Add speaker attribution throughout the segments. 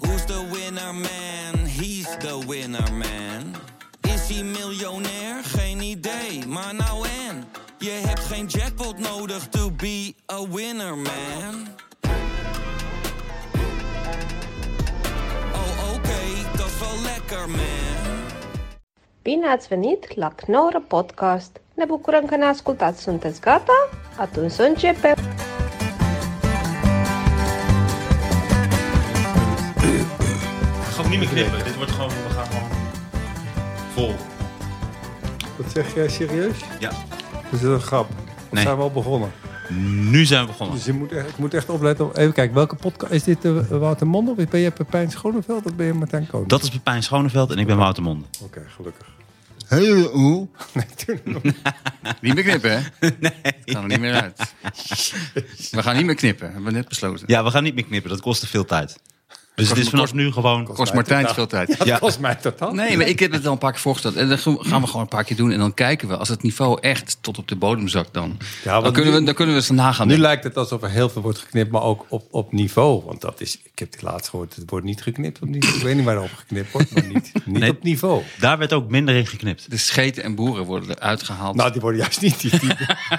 Speaker 1: Who's the winner man? He's the winner man. Is hij miljonair? Geen idee, maar nou en. Je hebt geen jackpot nodig to be a winner man. Oh oké, dat is wel lekker man.
Speaker 2: Bine ați venit la Knorr Podcast! Ne bucurăm că ne ascultați! Sunteți gata? Atunci să începem!
Speaker 3: Gewoon niet meer knippen. Dit wordt gewoon, we gaan gewoon vol.
Speaker 4: Dat zeg jij serieus?
Speaker 3: Ja.
Speaker 4: Is dat een grap? Of
Speaker 3: Nee.
Speaker 4: zijn we al begonnen?
Speaker 3: Nu zijn we begonnen.
Speaker 4: Dus je moet echt, ik moet echt opletten. op- Even kijken, welke podcast... Is dit eh, Wouter Mondel? Ben jij Pepijn Schoneveld of ben je Martijn Koning?
Speaker 3: Dat is Pepijn Schoneveld en ik ben Wouter Monde.
Speaker 4: Oké, gelukkig.
Speaker 5: Heel oeh.
Speaker 4: Nee, doe nog
Speaker 5: Niet meer knippen, hè? Nee. Kan er niet meer uit. We gaan niet meer knippen, hebben we net besloten.
Speaker 3: Ja, we gaan niet meer knippen. Dat kost te veel tijd. Dus het
Speaker 5: Kost-
Speaker 3: is vanaf nu gewoon...
Speaker 5: Kost Martijn veel tijd.
Speaker 4: Dat kost mij totaal.
Speaker 5: Nee, maar ik heb het al een paar keer voorgesteld. En dat gaan we gewoon een paar keer doen. En dan kijken we. Als het niveau echt tot op de bodem zakt, dan,
Speaker 4: Ja, want
Speaker 5: dan, kunnen,
Speaker 4: nu-
Speaker 5: we, dan kunnen we ze nagaan.
Speaker 4: Nu lijkt het alsof er heel veel wordt geknipt, maar ook op, op niveau. Want dat is, ik heb die laatst gehoord, het wordt niet geknipt op niveau. Ik weet niet waarop geknipt wordt, maar niet, niet
Speaker 3: Nee.
Speaker 4: op niveau.
Speaker 3: Daar werd ook minder in geknipt.
Speaker 5: De scheten en boeren worden eruit gehaald.
Speaker 4: Nou, die worden juist niet. Die, die,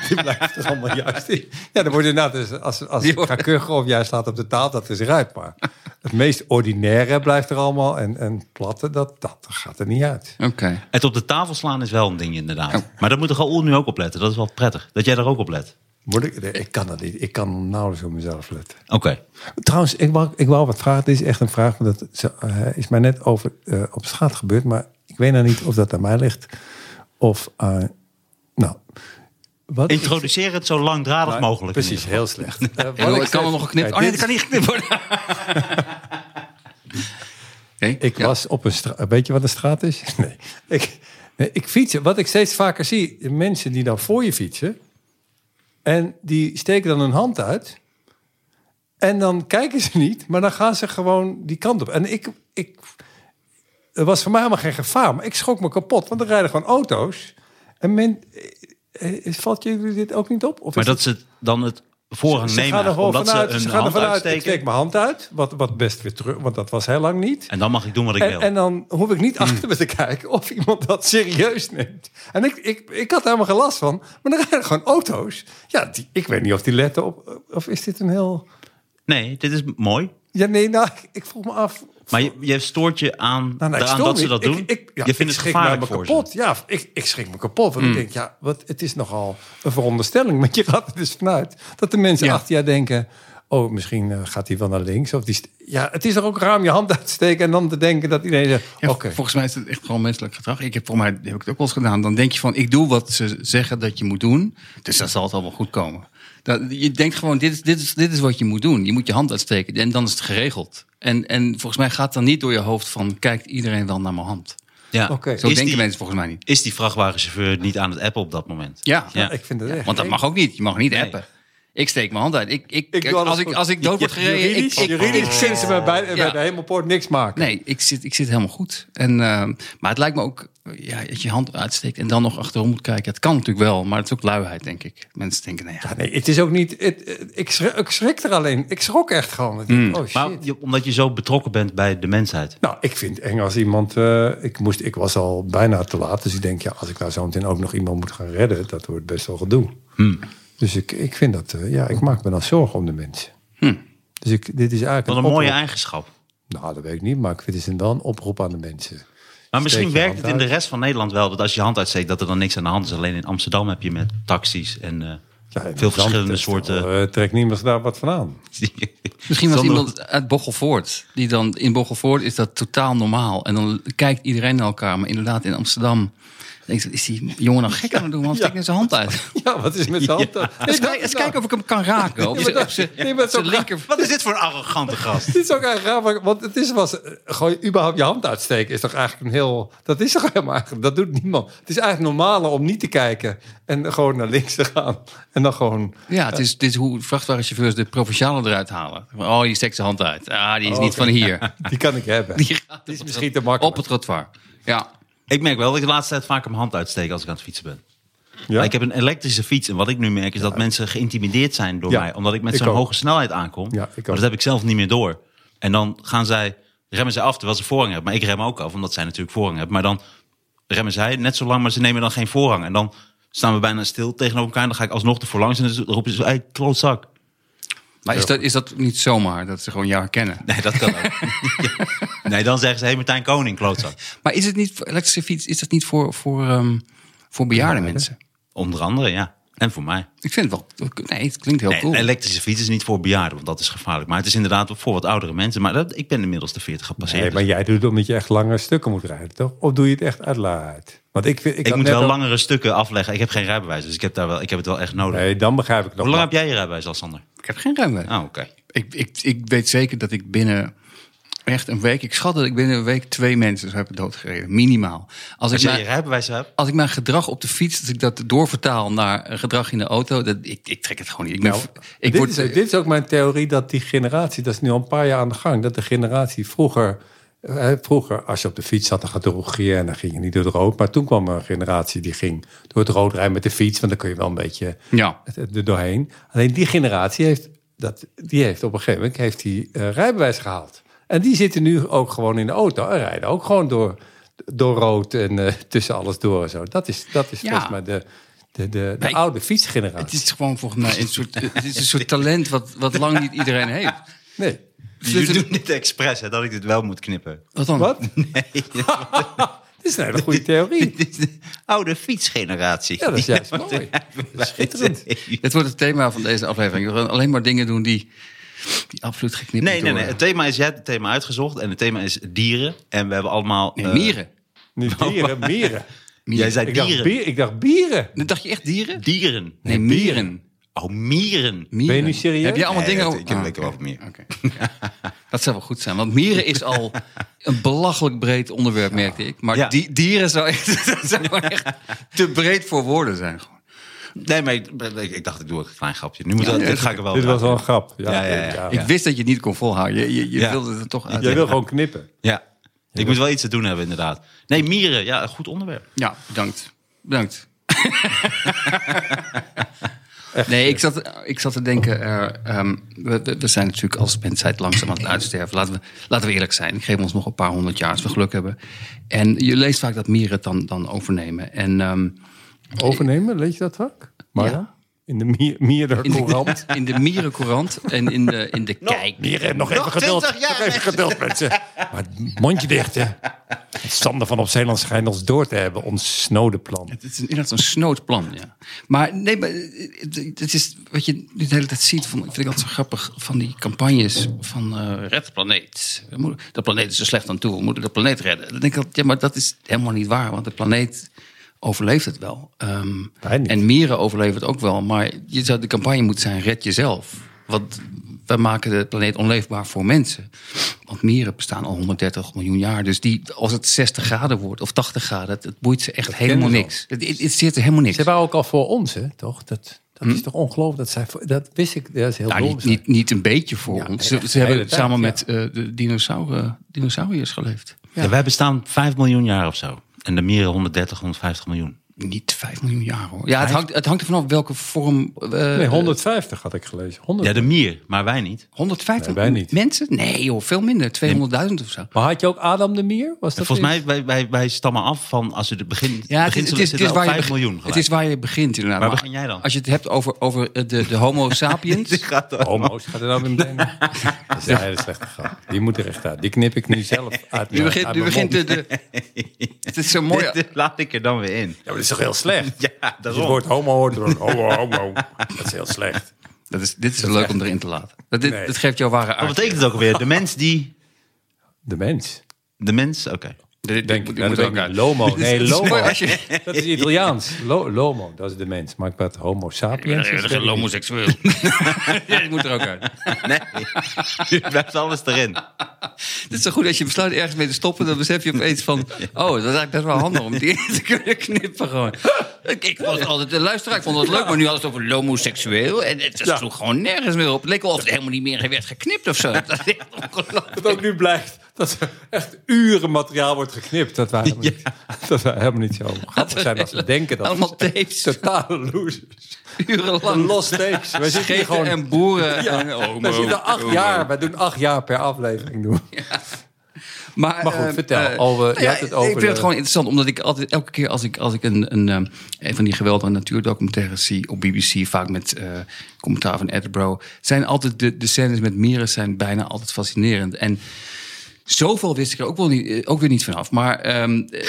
Speaker 4: die blijft er allemaal juist in. Ja, dan wordt inderdaad, dus als, als
Speaker 5: Die
Speaker 4: ik
Speaker 5: worden-
Speaker 4: ga kuchen of jij slaat op de tafel, dat is eruit. Maar het meest ordinaire blijft er allemaal. En, en platte, dat, dat gaat er niet uit.
Speaker 5: Oké.
Speaker 3: Het op de tafel slaan is wel een ding inderdaad.
Speaker 5: Oh.
Speaker 3: Maar dat moet de Raoul nu ook op letten. Dat is wel prettig. Dat jij daar ook op let.
Speaker 4: Word ik, nee, ik kan dat niet. Ik kan nauwelijks op mezelf letten.
Speaker 3: Oké.
Speaker 4: Trouwens, ik wou, ik wou wat vragen. Dit is echt een vraag, want dat is, eh, is mij net over, eh, op straat gebeurd. Maar ik weet nou niet of dat aan mij ligt. Of aan... nou, wat ik-
Speaker 3: Introduceer het zo langdradig
Speaker 4: nou,
Speaker 3: mogelijk. in
Speaker 4: Precies,
Speaker 3: ieder
Speaker 4: heel slecht. Eh, wat
Speaker 5: En dan-
Speaker 4: ik
Speaker 5: kan
Speaker 4: zeg-
Speaker 5: er nog geknipt
Speaker 4: Kijk,
Speaker 5: Oh nee,
Speaker 4: dit
Speaker 5: dat kan niet geknipt worden. Oké,
Speaker 4: Ik
Speaker 5: ja.
Speaker 4: was op een straat. Weet je wat een straat is? Nee. Ik, nee, ik fietsen. Wat ik steeds vaker zie, mensen die dan voor je fietsen. En die steken dan hun hand uit. En dan kijken ze niet, maar dan gaan ze gewoon die kant op. En ik, ik er was voor mij helemaal geen gevaar, maar ik schrok me kapot, want er rijden gewoon auto's. En men, eh, eh, valt jullie dit ook niet op? Of
Speaker 3: Maar
Speaker 4: is
Speaker 3: dat ze het dan het voorrang
Speaker 4: ze
Speaker 3: nemen.
Speaker 4: gaan er
Speaker 3: eigenlijk, Omdat
Speaker 4: gewoon
Speaker 3: ze
Speaker 4: vanuit. Ze,
Speaker 3: hun
Speaker 4: gaan er
Speaker 3: hand
Speaker 4: vanuit. Ik steek
Speaker 3: uitsteken.
Speaker 4: mijn hand uit, wat, wat best weer terug, want dat was heel lang niet.
Speaker 3: En dan mag ik doen wat ik
Speaker 4: En,
Speaker 3: wil.
Speaker 4: en dan hoef ik
Speaker 3: Hmm.
Speaker 4: niet achter me te kijken of iemand dat serieus neemt. En ik, ik, ik had daar helemaal geen last van. Maar dan rijden gewoon auto's. Ja, die, ik weet niet of die letten op... Of is dit een heel...
Speaker 3: Nee, dit is mooi.
Speaker 4: Ja, nee, nou, ik, ik vroeg me af...
Speaker 3: Maar je, je stoort je aan
Speaker 4: Nou, nou, ik
Speaker 3: daaraan
Speaker 4: stoor
Speaker 3: dat ze
Speaker 4: me.
Speaker 3: dat
Speaker 4: Ik-
Speaker 3: doen.
Speaker 4: ik- ja,
Speaker 3: je
Speaker 4: ik
Speaker 3: vindt het
Speaker 4: schrik me
Speaker 3: gevaarlijk
Speaker 4: helemaal
Speaker 3: voor
Speaker 4: kapot.
Speaker 3: ze. Hmm.
Speaker 4: Ja, ik, ik schrik me kapot. Want ik denk, ja, wat, het is nogal een veronderstelling. Want je gaat er dus vanuit dat de mensen
Speaker 5: Ja.
Speaker 4: achter jou denken... oh, misschien eh, gaat hij wel naar links. Of die st- ja, het is er ook ruim je hand uit te steken... en dan te denken dat iedereen zegt,
Speaker 5: Ja,
Speaker 4: oké.
Speaker 5: Volgens mij is het echt gewoon menselijk gedrag. Ik heb, voor mij heb ik het ook wel eens gedaan. Dan denk je van, ik doe wat ze zeggen dat je moet doen. Dus dan zal het al wel goed komen. Dat, je denkt gewoon, dit is, dit, is, dit is wat je moet doen. Je moet je hand uitsteken en dan is het geregeld. En, en volgens mij gaat dan niet door je hoofd van, kijkt iedereen wel naar mijn hand.
Speaker 3: Ja.
Speaker 4: Oké.
Speaker 5: Zo
Speaker 3: Is
Speaker 5: denken
Speaker 3: die-
Speaker 5: mensen volgens mij niet.
Speaker 3: Is die vrachtwagenchauffeur niet aan het appen op dat moment?
Speaker 5: Ja,
Speaker 3: Ja.
Speaker 4: Ik vind het echt...
Speaker 5: want dat mag ook niet. Je mag niet
Speaker 3: Nee.
Speaker 5: appen. Ik steek mijn hand uit. Ik, ik,
Speaker 4: Ik doe alles
Speaker 5: als, ik,
Speaker 4: goed.
Speaker 5: als ik dood word gereden... Ik,
Speaker 4: Juridisch,
Speaker 5: ik,
Speaker 4: juridisch
Speaker 5: ik-
Speaker 4: kunnen ze bij, bij, bij
Speaker 5: Ja.
Speaker 4: de hemelpoort niks maken.
Speaker 5: Nee, ik zit, ik zit helemaal goed. En, eh, maar het lijkt me ook eh, ja, dat je hand uitsteekt en dan nog achterom moet kijken. Het kan natuurlijk wel, maar het is ook luiheid, denk ik. Mensen denken, nee, ja.
Speaker 4: Ja, nee, het is ook niet... het- het- ik, schrik, ik schrik er alleen. Ik schrok echt gewoon. Ik
Speaker 5: Mm.
Speaker 4: denk, Oh shit.
Speaker 3: Maar je- omdat je zo betrokken bent bij de mensheid.
Speaker 4: Nou, ik vind eng als iemand... eh, ik, moest, ik was al bijna te laat. Dus ik denk, ja, als ik nou zo meteen ook nog iemand moet gaan redden... dat wordt best wel gedoe.
Speaker 5: Mm.
Speaker 4: Dus ik, ik vind dat... eh, ja, ik maak me dan zorgen om de mensen.
Speaker 5: Hm.
Speaker 4: Dus ik, dit is eigenlijk
Speaker 3: Wat een mooie
Speaker 4: oproep.
Speaker 3: eigenschap.
Speaker 4: Nou, dat weet ik niet. Maar ik vind het is wel een oproep aan de mensen.
Speaker 3: Maar misschien
Speaker 4: Steek je
Speaker 3: werkt
Speaker 4: hand
Speaker 3: het in de
Speaker 4: uit.
Speaker 3: rest van Nederland wel. Dat als je hand uitsteekt, dat er dan niks aan de hand is. Alleen in Amsterdam heb je met taxis en eh,
Speaker 4: Ja, en
Speaker 3: veel
Speaker 4: dan-
Speaker 3: verschillende
Speaker 4: dat-
Speaker 3: soorten.
Speaker 4: eh, trekt niemand daar wat van aan.
Speaker 5: Misschien was
Speaker 3: Zonder-
Speaker 5: iemand uit Bochelvoort. Die dan, in Bochelvoort is dat totaal normaal. En dan kijkt iedereen naar elkaar. Maar inderdaad, in Amsterdam denk je, is die jongen nou gek aan het doen? Waarom steekt hij zijn hand uit?
Speaker 4: Ja, wat is met de hand? Dus
Speaker 5: Eens, kijk- eens kijken of ik hem kan raken. Op
Speaker 4: Ja,
Speaker 5: zijn-
Speaker 4: maar
Speaker 5: op zijn
Speaker 4: dat- nee, maar
Speaker 5: op zijn
Speaker 4: zo-
Speaker 5: linker...
Speaker 3: Wat is dit voor een arrogante gast?
Speaker 4: Dit is ook eigenlijk raar, maar- want het is was eh, gewoon überhaupt je hand uitsteken is toch eigenlijk een heel dat is toch helemaal eigenlijk- dat doet niemand. Het is eigenlijk normaler om niet te kijken en gewoon naar links te gaan en dan gewoon
Speaker 5: Ja, het is, het is hoe vrachtwagenchauffeurs de provinciale eruit halen. Oh, die steekt zijn hand uit. Ah, die is
Speaker 4: Oh,
Speaker 5: niet van hier.
Speaker 4: die kan ik hebben.
Speaker 5: Die gaat
Speaker 4: is misschien te makkelijk.
Speaker 5: Op het trottoir. Ja.
Speaker 3: Ik merk wel dat ik de laatste tijd vaak mijn hand uitsteek als ik aan het fietsen ben.
Speaker 4: Ja?
Speaker 3: Maar Ik heb een elektrische fiets en wat ik nu merk is dat mensen geïntimideerd zijn door
Speaker 4: Ja.
Speaker 3: mij. Omdat ik met
Speaker 4: Ik
Speaker 3: zo'n
Speaker 4: ook.
Speaker 3: hoge snelheid aankom.
Speaker 4: Ja, ik ook.
Speaker 3: maar dat heb ik zelf niet meer door.
Speaker 6: En dan gaan zij, remmen zij af terwijl ze voorrang hebben. Maar ik rem ook af, omdat zij natuurlijk voorrang hebben. Maar dan remmen zij net zo lang, maar ze nemen dan geen voorrang. En dan staan we bijna stil tegenover elkaar. En dan ga ik alsnog de voorlangs en dan roep je zo, hey, klootzak.
Speaker 5: Maar is dat, is dat niet zomaar, dat ze gewoon jou herkennen?
Speaker 6: Nee, dat kan ook. Ja. Nee, dan zeggen ze, hey, Martijn Koning, klootzak.
Speaker 5: Maar is het niet voor elektrische fiets, is dat niet voor, voor, ehm, voor bejaarde mensen?
Speaker 6: Onder andere, ja. En voor mij.
Speaker 5: Ik vind het wel, nee, het klinkt heel
Speaker 6: Nee,
Speaker 5: cool.
Speaker 6: een elektrische fiets is niet voor bejaarden, want dat is gevaarlijk. Maar het is inderdaad wel voor wat oudere mensen. Maar dat, ik ben inmiddels de 40 gepasseerd.
Speaker 4: Nee, maar
Speaker 6: dus
Speaker 4: jij doet het omdat je echt langere stukken moet rijden, toch? Of doe je het echt uit laat? Want ik, vind, ik,
Speaker 6: ik
Speaker 4: had
Speaker 6: moet
Speaker 4: net
Speaker 6: wel
Speaker 4: al-
Speaker 6: langere stukken afleggen. Ik heb geen rijbewijs, dus ik heb, daar wel, ik heb het wel echt nodig.
Speaker 4: Nee, dan begrijp ik nog
Speaker 6: Hoe lang
Speaker 4: wel.
Speaker 6: heb jij je rijbewijs al, Sander?
Speaker 5: Ik heb geen ruimte.
Speaker 6: Ah, oké.
Speaker 5: Ik, ik, ik weet zeker dat ik binnen echt een week, ik schat dat ik binnen een week twee mensen zou hebben doodgereden, minimaal.
Speaker 6: Als
Speaker 5: Als, ik
Speaker 6: jij je
Speaker 5: mijn,
Speaker 6: rijbewijs hebt...
Speaker 5: als ik mijn gedrag op de fiets, als ik dat doorvertaal naar een gedrag in de auto, dat, ik, ik trek het gewoon niet. Ik, ben,
Speaker 4: Nou,
Speaker 5: ik
Speaker 4: dit,
Speaker 5: word,
Speaker 4: is, dit is ook mijn theorie dat die generatie, dat is nu al een paar jaar aan de gang, dat de generatie vroeger, eh, vroeger als je op de fiets zat, dan gaat droeg je en dan ging je niet door het rood. Maar toen kwam er een generatie die ging door het rood rijden met de fiets, want dan kun je wel een beetje
Speaker 5: Ja,
Speaker 4: het- het er doorheen. Alleen die generatie heeft, dat, die heeft op een gegeven moment heeft die, eh, rijbewijs gehaald. En die zitten nu ook gewoon in de auto en rijden ook gewoon door, door rood en eh, tussen alles door en zo. Dat is, dat is
Speaker 5: Ja.
Speaker 4: volgens mij de, de, de, de
Speaker 5: ik-
Speaker 4: oude fietsgeneratie.
Speaker 5: het is gewoon volgens mij een soort, het is een soort talent wat, wat lang niet iedereen heeft.
Speaker 4: Nee.
Speaker 6: Je doet dit expres, hè, dat ik dit wel moet knippen.
Speaker 5: Wat dan?
Speaker 4: Wat? Nee. Dit is een hele goede theorie.
Speaker 6: Dit is de oude fietsgeneratie.
Speaker 4: Ja, dat is juist mooi. Schitterend.
Speaker 5: Het wordt het thema van deze aflevering. We gaan alleen maar dingen doen die, die absoluut geknipt
Speaker 6: Nee, nee,
Speaker 5: worden.
Speaker 6: nee. Het thema is, jij hebt het thema uitgezocht. En het thema is dieren. En we hebben allemaal...
Speaker 5: Nee,
Speaker 6: eh,
Speaker 5: mieren.
Speaker 4: Niet dieren, mieren.
Speaker 6: Jij zei
Speaker 4: Ik dacht,
Speaker 6: dieren.
Speaker 4: bier- ik dacht bieren.
Speaker 5: Dan dacht je echt dieren?
Speaker 6: Dieren.
Speaker 5: Nee, mieren.
Speaker 6: Oh, mieren.
Speaker 5: Mieren.
Speaker 4: Ben je nu serieus?
Speaker 5: Heb je allemaal
Speaker 6: Nee,
Speaker 5: dingen
Speaker 6: dat-
Speaker 5: over?
Speaker 6: ik heb
Speaker 5: Ah,
Speaker 6: het
Speaker 5: oké.
Speaker 6: over mieren.
Speaker 5: Oké. Ja. Dat zou wel goed zijn, want mieren is al een belachelijk breed onderwerp, merkte ik. Maar
Speaker 6: Ja.
Speaker 5: die, dieren zou echt, dat zou gewoon echt te breed voor woorden zijn. gewoon.
Speaker 6: Nee, maar ik, ik- ik dacht, ik doe een klein grapje. Nu moet dat,
Speaker 5: nee,
Speaker 6: dit ga ik er wel
Speaker 4: Dit
Speaker 6: bij
Speaker 4: was wel een grap.
Speaker 6: Oh, Ja, ja, ja.
Speaker 5: Ik wist dat je het niet kon volhouden. Je, je, je
Speaker 6: Ja.
Speaker 5: wilde het toch
Speaker 4: Jij
Speaker 5: uit.
Speaker 4: wil gewoon knippen.
Speaker 6: Ja. Ik moet wel iets te doen hebben, inderdaad. Nee, mieren. Ja, een goed onderwerp.
Speaker 5: Ja, bedankt. Bedankt. nee, ik zat, ik zat te denken, eh, ehm, we, we- we zijn natuurlijk als mensheid langzaam aan het uitsterven. Laten we, laten we eerlijk zijn, ik geef ons nog een paar honderd jaar als we geluk hebben. En je leest vaak dat mieren het dan, dan overnemen. En ehm,
Speaker 4: Overnemen, lees je dat vaak? Maar
Speaker 5: Ja.
Speaker 4: in de mier-
Speaker 5: in,
Speaker 4: mierdercourant.
Speaker 5: de, in de mierencourant en in de, in de kijk.
Speaker 4: Mieren, nog even geduld. nog even geduld, mensen. Maar mondje dicht, hè. Sander van op Zeeland schijnt ons door te hebben. Ons snode plan.
Speaker 5: Het is inderdaad zo'n snoot plan, ja. Maar nee, maar het- het is wat je nu de hele tijd ziet. Van, vind ik altijd zo grappig van die campagnes van eh, red de planeet. We moeten, de planeet is er slecht aan toe. We moeten de planeet redden. Dan denk ik altijd, ja, maar dat is helemaal niet waar. Want de planeet overleeft het wel. Ehm,
Speaker 4: Wij niet.
Speaker 5: en mieren overleven het ook wel. Maar je zou de campagne moeten zijn, red jezelf. Want wij maken de planeet onleefbaar voor mensen. Want mieren bestaan al 130 miljoen jaar. Dus die, als het 60 graden wordt of 80 graden... het, het boeit ze echt helemaal
Speaker 4: kennen ze
Speaker 5: niks. Het, het, het zit er helemaal niks.
Speaker 4: Ze waren ook al voor ons, hè, toch? Dat, dat is toch ongelooflijk. Dat, zij, voor- dat wist ik. Dat is heel
Speaker 5: Nou,
Speaker 4: dom.
Speaker 5: niet, niet, niet een beetje voor
Speaker 4: Ja,
Speaker 5: ons.
Speaker 4: echt,
Speaker 5: Ze,
Speaker 4: de
Speaker 5: ze
Speaker 4: hele
Speaker 5: hebben
Speaker 4: tijd,
Speaker 5: samen
Speaker 4: ja.
Speaker 5: met eh, de dinosauren, dinosauriërs geleefd.
Speaker 6: Ja. wij bestaan 5 miljoen jaar of zo. En de mieren 130, 150 miljoen.
Speaker 5: Niet 5 miljoen jaar hoor. Ja, het hangt, het hangt ervan af welke vorm. eh,
Speaker 4: Nee, 150 had ik gelezen. 100.
Speaker 6: Ja, de mier, maar wij niet.
Speaker 5: 150
Speaker 4: Nee, wij niet.
Speaker 5: mensen? Nee joh, veel minder. 200.000 of zo.
Speaker 4: Maar had je ook Adam de Mier? Was dat
Speaker 6: Volgens
Speaker 4: die?
Speaker 6: mij, wij, wij, wij stammen af van, als we het begin,
Speaker 5: Ja, het is,
Speaker 6: beginselen
Speaker 5: het is, het is
Speaker 6: zitten
Speaker 5: waar
Speaker 6: al
Speaker 5: je
Speaker 6: 5
Speaker 5: begint.
Speaker 6: miljoen
Speaker 5: Het
Speaker 6: gelijk.
Speaker 5: is waar je begint inderdaad.
Speaker 6: Waar
Speaker 5: Maar
Speaker 6: begin jij dan?
Speaker 5: Als je het hebt over, over eh, de, de homo sapiens.
Speaker 4: Homo's, gaat er nou weer meteen. Dat is een hele slechte grap. Die moet er echt uit. Die knip ik nu zelf uit.
Speaker 5: Nu begint,
Speaker 4: uit
Speaker 5: nu
Speaker 4: mijn
Speaker 5: begint de,
Speaker 4: mond.
Speaker 5: de... Het is zo mooi.
Speaker 6: Dit, dit laat ik er dan weer in.
Speaker 4: Ja, maar dat is toch heel slecht?
Speaker 6: Ja,
Speaker 4: Als
Speaker 6: dat
Speaker 4: je het woord homo hoort, dan homo, homo. Dat is heel slecht.
Speaker 5: Dat is, dit is leuk om erin te laten. Dat, dit,
Speaker 4: Nee.
Speaker 5: dat geeft jouw ware
Speaker 6: Wat
Speaker 5: aard.
Speaker 6: betekent het ook alweer? De mens die...
Speaker 4: De mens.
Speaker 6: De mens? Oké.
Speaker 5: Dit- dit
Speaker 4: Denk
Speaker 5: moet-
Speaker 4: ik.
Speaker 5: dit moet
Speaker 4: dat
Speaker 5: ook
Speaker 4: weet ik
Speaker 5: uit.
Speaker 4: niet. Lomo.
Speaker 5: Het
Speaker 4: Nee,
Speaker 5: is
Speaker 4: lomo.
Speaker 5: mooi als je-
Speaker 4: Dat is Italiaans. Lo- lomo, dat is de mens. Maar ik praat homo sapiens. is
Speaker 5: Een
Speaker 4: dat niet.
Speaker 5: homoseksueel. ja, die moet er ook uit.
Speaker 6: Nee, je blijft alles erin.
Speaker 5: Het is zo goed als je besluit ergens mee te stoppen, dan besef je opeens van, oh, dat is eigenlijk best wel handig om die te kunnen knippen gewoon. Ik, ik was altijd de luisteraar, ik vond het leuk, maar nu hadden ze het over homoseksueel en het sloeg gewoon nergens meer op. Het leek wel of het helemaal niet meer werd geknipt of zo. Dat is echt ongelooflijk.
Speaker 4: Wat ook nu blijkt, dat er echt uren materiaal wordt geknipt. Dat wij helemaal, niet, dat wij helemaal niet zo grappig zijn als we denken. Dat
Speaker 5: Allemaal tapes,
Speaker 4: totale losers.
Speaker 5: urenlang.
Speaker 4: Los tapes. Wij zitten hier
Speaker 5: Scheten
Speaker 4: gewoon...
Speaker 5: en boeren.
Speaker 4: Ja,
Speaker 5: en, oh,
Speaker 4: wij
Speaker 5: oh,
Speaker 4: zitten acht
Speaker 5: oh,
Speaker 4: jaar. Wij doen acht jaar per aflevering. Doen.
Speaker 5: Maar,
Speaker 4: Maar goed,
Speaker 5: eh,
Speaker 4: vertel.
Speaker 5: eh,
Speaker 4: Al, eh,
Speaker 5: nou
Speaker 4: je
Speaker 5: ja,
Speaker 4: hebt het
Speaker 5: Ik
Speaker 4: over
Speaker 5: vind
Speaker 4: de-
Speaker 5: het gewoon interessant, omdat ik altijd elke keer als ik, als ik een, een, eh, een van die geweldige natuurdocumentaires zie op BBC, vaak met eh, commentaar van Attenborough, zijn altijd de, de scènes met mieren zijn bijna altijd fascinerend. En zoveel wist ik er ook, wel niet, eh, ook weer niet vanaf. Maar ehm, eh,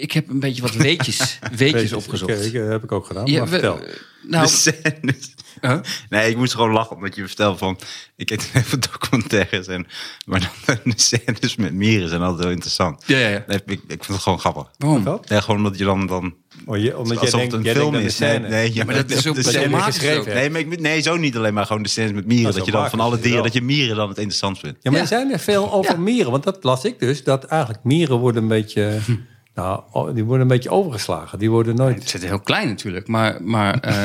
Speaker 5: ik heb een beetje wat weetjes, weetjes opgezocht.
Speaker 4: Oké, ik, eh, heb ik ook gedaan.
Speaker 5: Ja,
Speaker 4: maar
Speaker 5: we-
Speaker 4: vertel.
Speaker 5: nou,
Speaker 6: De scènes.
Speaker 5: Huh?
Speaker 6: Nee, ik moest gewoon lachen omdat je vertelde van... Ik kijk dan even documentaires en... Maar dan de scènes met mieren zijn altijd heel interessant.
Speaker 5: Ja, ja, Oh. ja.
Speaker 6: Nee, ik, ik vind het gewoon grappig.
Speaker 5: waarom?
Speaker 4: Wat?
Speaker 6: Nee, gewoon omdat je dan... dan
Speaker 4: Oh, je, omdat jij
Speaker 6: alsof
Speaker 4: denkt,
Speaker 6: het
Speaker 4: jij
Speaker 6: een film
Speaker 4: denkt aan de
Speaker 6: is. Nee,
Speaker 4: scène.
Speaker 6: nee, ja,
Speaker 5: maar dat is ook
Speaker 6: de
Speaker 5: dat is
Speaker 6: scène-
Speaker 4: jij
Speaker 5: automatisch
Speaker 4: geschreven
Speaker 5: ook.
Speaker 4: hebt.
Speaker 6: Nee, maar ik, nee, zo niet alleen maar gewoon de scènes met mieren.
Speaker 4: Nou,
Speaker 6: Dat
Speaker 4: zo
Speaker 6: je dan
Speaker 4: maken
Speaker 6: van alle
Speaker 4: ze
Speaker 6: dieren,
Speaker 4: wel.
Speaker 6: dat je mieren dan het interessant vindt.
Speaker 4: Ja, maar
Speaker 5: Ja.
Speaker 4: er zijn er veel over mieren. Want dat las ik dus. Dat eigenlijk mieren worden een beetje... Nou, o- die worden een beetje overgeslagen. Die worden
Speaker 5: Ze
Speaker 4: nooit...
Speaker 5: zitten heel klein natuurlijk, maar, maar eh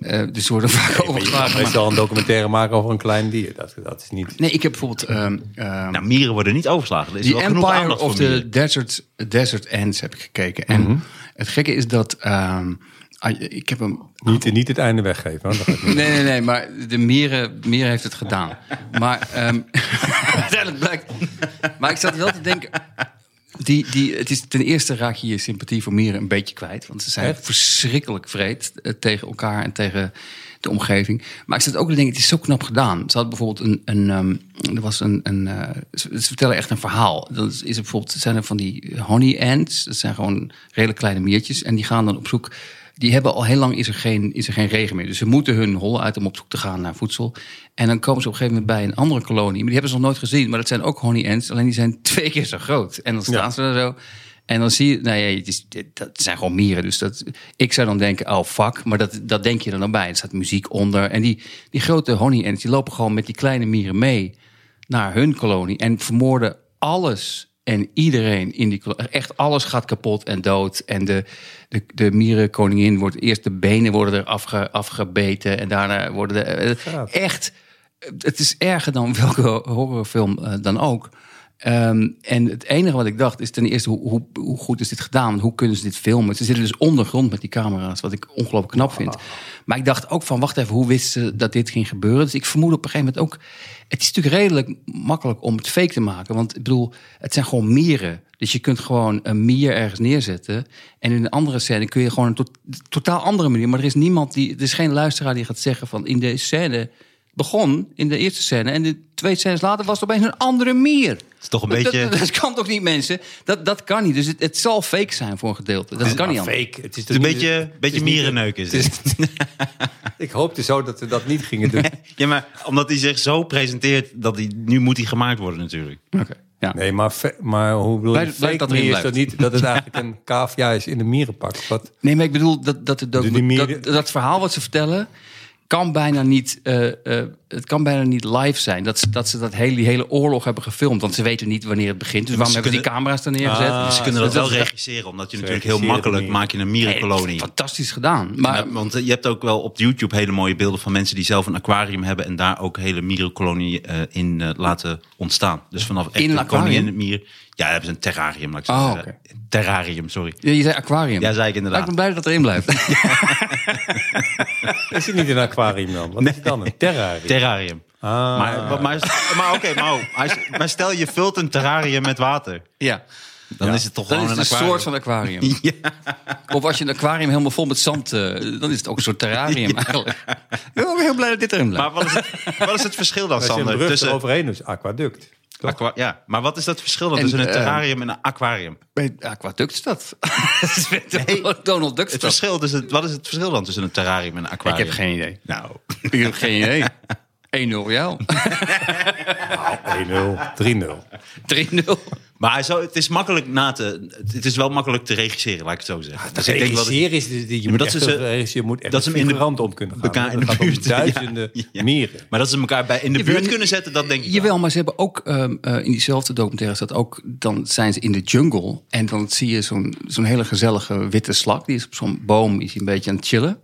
Speaker 5: eh, dus ze worden vaak overgeslagen.
Speaker 4: Maar je
Speaker 5: maar-
Speaker 4: zal een documentaire maken over een klein dier. Dat, dat is niet...
Speaker 5: Nee, ik heb bijvoorbeeld... ehm, ehm,
Speaker 6: Nou, mieren worden niet overslagen. Er is
Speaker 5: The
Speaker 6: wel genoeg
Speaker 5: Empire
Speaker 6: aandacht
Speaker 5: of
Speaker 6: voor eh, Mhm.
Speaker 5: the
Speaker 6: mieren.
Speaker 5: Desert, Desert Ants heb ik gekeken. En het gekke is dat... ehm, ah, ik heb hem...
Speaker 4: Niet, niet het einde weggeven. hoor. Dat gaat niet.
Speaker 5: Nee, nee, nee, maar de mieren, mieren heeft het gedaan. Maar ehm, uiteindelijk blijkt... Maar ik zat wel te denken... Die, die, het is, ten eerste raak je je sympathie voor mieren een beetje kwijt. Want ze zijn
Speaker 4: Echt?
Speaker 5: verschrikkelijk vreed eh, tegen elkaar en tegen de omgeving. Maar ik zat ook te denken, het is zo knap gedaan. Ze hadden bijvoorbeeld een... een ehm, er was een, een eh, ze, ze vertellen echt een verhaal. Dan is, is er bijvoorbeeld, zijn er van die honey ants. Dat zijn gewoon redelijk kleine miertjes. En die gaan dan op zoek... Die hebben al heel lang is er, geen, is er geen regen meer. Dus ze moeten hun hollen uit om op zoek te gaan naar voedsel. En dan komen ze op een gegeven moment bij een andere kolonie. Maar die hebben ze nog nooit gezien. Maar dat zijn ook honey ants. Alleen die zijn twee keer zo groot. En dan staan ze er zo. En dan zie je, nou ja, het is, dit- dat zijn gewoon mieren. Dus dat, ik zou dan denken, oh fuck, maar dat, dat denk je er dan bij. Er staat muziek onder. En die, die grote honey ants, die lopen gewoon met die kleine mieren mee naar hun kolonie. En vermoorden alles en iedereen in die kolonie. Echt alles gaat kapot en dood. En de, de, de mierenkoningin wordt eerst de benen worden er afge, afgebeten. En daarna worden de... eh, Echt, Eh, het is erger dan welke horrorfilm eh, dan ook. Ehm, en het enige wat ik dacht is ten eerste, hoe, hoe, hoe goed is dit gedaan? Want Hoe kunnen ze dit filmen? Ze zitten dus ondergrond met die camera's, wat ik ongelooflijk knap vind. Maar ik dacht ook van, wacht even, hoe wisten ze dat dit ging gebeuren? Dus ik vermoed op een gegeven moment ook... Het is natuurlijk redelijk makkelijk om het fake te maken. Want ik bedoel, het zijn gewoon mieren. Dus je kunt gewoon een mier ergens neerzetten. En in een andere scène kun je gewoon een tot- totaal andere manier... Maar er is niemand die... Er is geen luisteraar die gaat zeggen van, in deze scène... Begon in de eerste scène en de twee scènes later was het opeens een andere mier.
Speaker 6: Het is toch een
Speaker 5: Dat-
Speaker 6: beetje...
Speaker 5: Dat, dat kan toch niet, mensen? Dat, dat kan niet. Dus het, het zal fake zijn voor een gedeelte. Dat kan niet
Speaker 6: nou
Speaker 5: anders.
Speaker 4: Nou, Fake. Het is,
Speaker 6: Het is een beetje, beetje mierenneuk is het.
Speaker 4: Ik hoopte zo dat we dat niet gingen doen.
Speaker 6: Ja, maar omdat hij zich zo presenteert, dat hij, nu moet hij gemaakt worden natuurlijk.
Speaker 5: Oké. Ja.
Speaker 4: Nee, maar, fe- maar hoe wil je
Speaker 5: Blijf- blijf
Speaker 4: fake
Speaker 5: dat erin
Speaker 4: meer is dat
Speaker 5: blijft.
Speaker 4: niet dat het eigenlijk een cavia is in de mierenpak? Wat,
Speaker 5: Nee, maar ik bedoel dat, dat, de docu-
Speaker 4: Dus die mieren-
Speaker 5: dat, dat verhaal wat ze vertellen. Kan bijna niet, eh, eh, het kan bijna niet live zijn. Dat, ze- dat ze dat hele, die hele oorlog hebben gefilmd. Want ze weten niet wanneer het begint. Dus waarom
Speaker 6: ze
Speaker 5: hebben ze die
Speaker 6: kunnen-
Speaker 5: camera's er neergezet?
Speaker 6: Dus ze kunnen dat wel
Speaker 5: is-
Speaker 6: regisseren, omdat je natuurlijk heel
Speaker 4: regisseren
Speaker 6: makkelijk
Speaker 4: mieren.
Speaker 6: maak je een
Speaker 5: Nee,
Speaker 6: mierenkolonie.
Speaker 5: Fantastisch gedaan. Maar,
Speaker 6: Ja, want eh, je hebt ook wel op YouTube hele mooie beelden van mensen die zelf een aquarium hebben en daar ook hele mierenkolonie eh, in eh, laten ontstaan. Dus vanaf echt
Speaker 5: In een
Speaker 6: een kolonie in
Speaker 5: aquarium?
Speaker 6: het mier. Ja, daar hebben ze een terrarium, laat ik zo
Speaker 5: Oh,
Speaker 6: zeggen. Terrarium, sorry.
Speaker 5: Ja, je zei aquarium.
Speaker 6: Ja, zei ik
Speaker 5: Maar ik
Speaker 6: inderdaad.
Speaker 5: ben blij dat het erin blijft.
Speaker 4: is het niet in een aquarium dan? Wat is het dan? Een terrarium?
Speaker 6: Terrarium.
Speaker 4: Ah.
Speaker 6: Maar, maar, maar, maar oké, maar, maar- maar stel je vult een terrarium met water.
Speaker 5: ja.
Speaker 6: Dan is het toch
Speaker 5: Dan
Speaker 6: gewoon
Speaker 5: is het
Speaker 6: een
Speaker 5: een
Speaker 6: aquarium.
Speaker 5: soort van aquarium. Of als je een aquarium helemaal vol met zand, eh, dan is het ook een soort terrarium eigenlijk. Ik ben heel blij dat dit erin blijft.
Speaker 6: Maar wat is, het, wat is het verschil dan,
Speaker 4: Als je een
Speaker 6: Sander?
Speaker 4: brug
Speaker 6: Tussen,
Speaker 4: eroverheen doet, aquaduct.
Speaker 6: aqua- ja, maar wat is dat verschil dan
Speaker 5: En,
Speaker 6: tussen een
Speaker 5: eh,
Speaker 6: terrarium en een aquarium?
Speaker 5: Bij Aquaduct is dat. Dat is met Donald Duck
Speaker 6: Het
Speaker 5: stad.
Speaker 6: verschil tussen, wat is het verschil dan tussen een terrarium en een
Speaker 5: Ik
Speaker 6: aquarium?
Speaker 5: heb geen idee.
Speaker 6: Nou,
Speaker 5: Ik heb geen idee. 1-0 voor jou.
Speaker 4: 1-0,
Speaker 5: Dus
Speaker 4: 3-0.
Speaker 5: 3-0.
Speaker 6: maar zo, het is makkelijk na te. Het is wel makkelijk te regisseren, laat ik het zo zeggen. dus ik denk wel dat,
Speaker 4: Ah, Regisseren is de- die- je
Speaker 6: maar
Speaker 4: moet
Speaker 6: dat
Speaker 4: echt
Speaker 6: ze
Speaker 5: dus,
Speaker 6: ze-
Speaker 4: een regisseur moet echt
Speaker 6: dat ze hem in de
Speaker 4: rand om kunnen gaan.
Speaker 6: elkaar
Speaker 4: hoor.
Speaker 6: in
Speaker 4: Dat
Speaker 6: de
Speaker 4: gaat om
Speaker 6: buurt, ja.
Speaker 4: duizenden
Speaker 6: Ja.
Speaker 4: mieren.
Speaker 6: maar dat ze elkaar bij in de buurt
Speaker 5: Jawel,
Speaker 6: kunnen zetten, dat denk ik. wel.
Speaker 5: Jawel, maar ze hebben ook ehm, eh, in diezelfde documentaire staat ook... dan zijn ze in de jungle en dan zie je zo'n zo'n hele gezellige witte slak. Die is op zo'n boom, die is een beetje aan het chillen.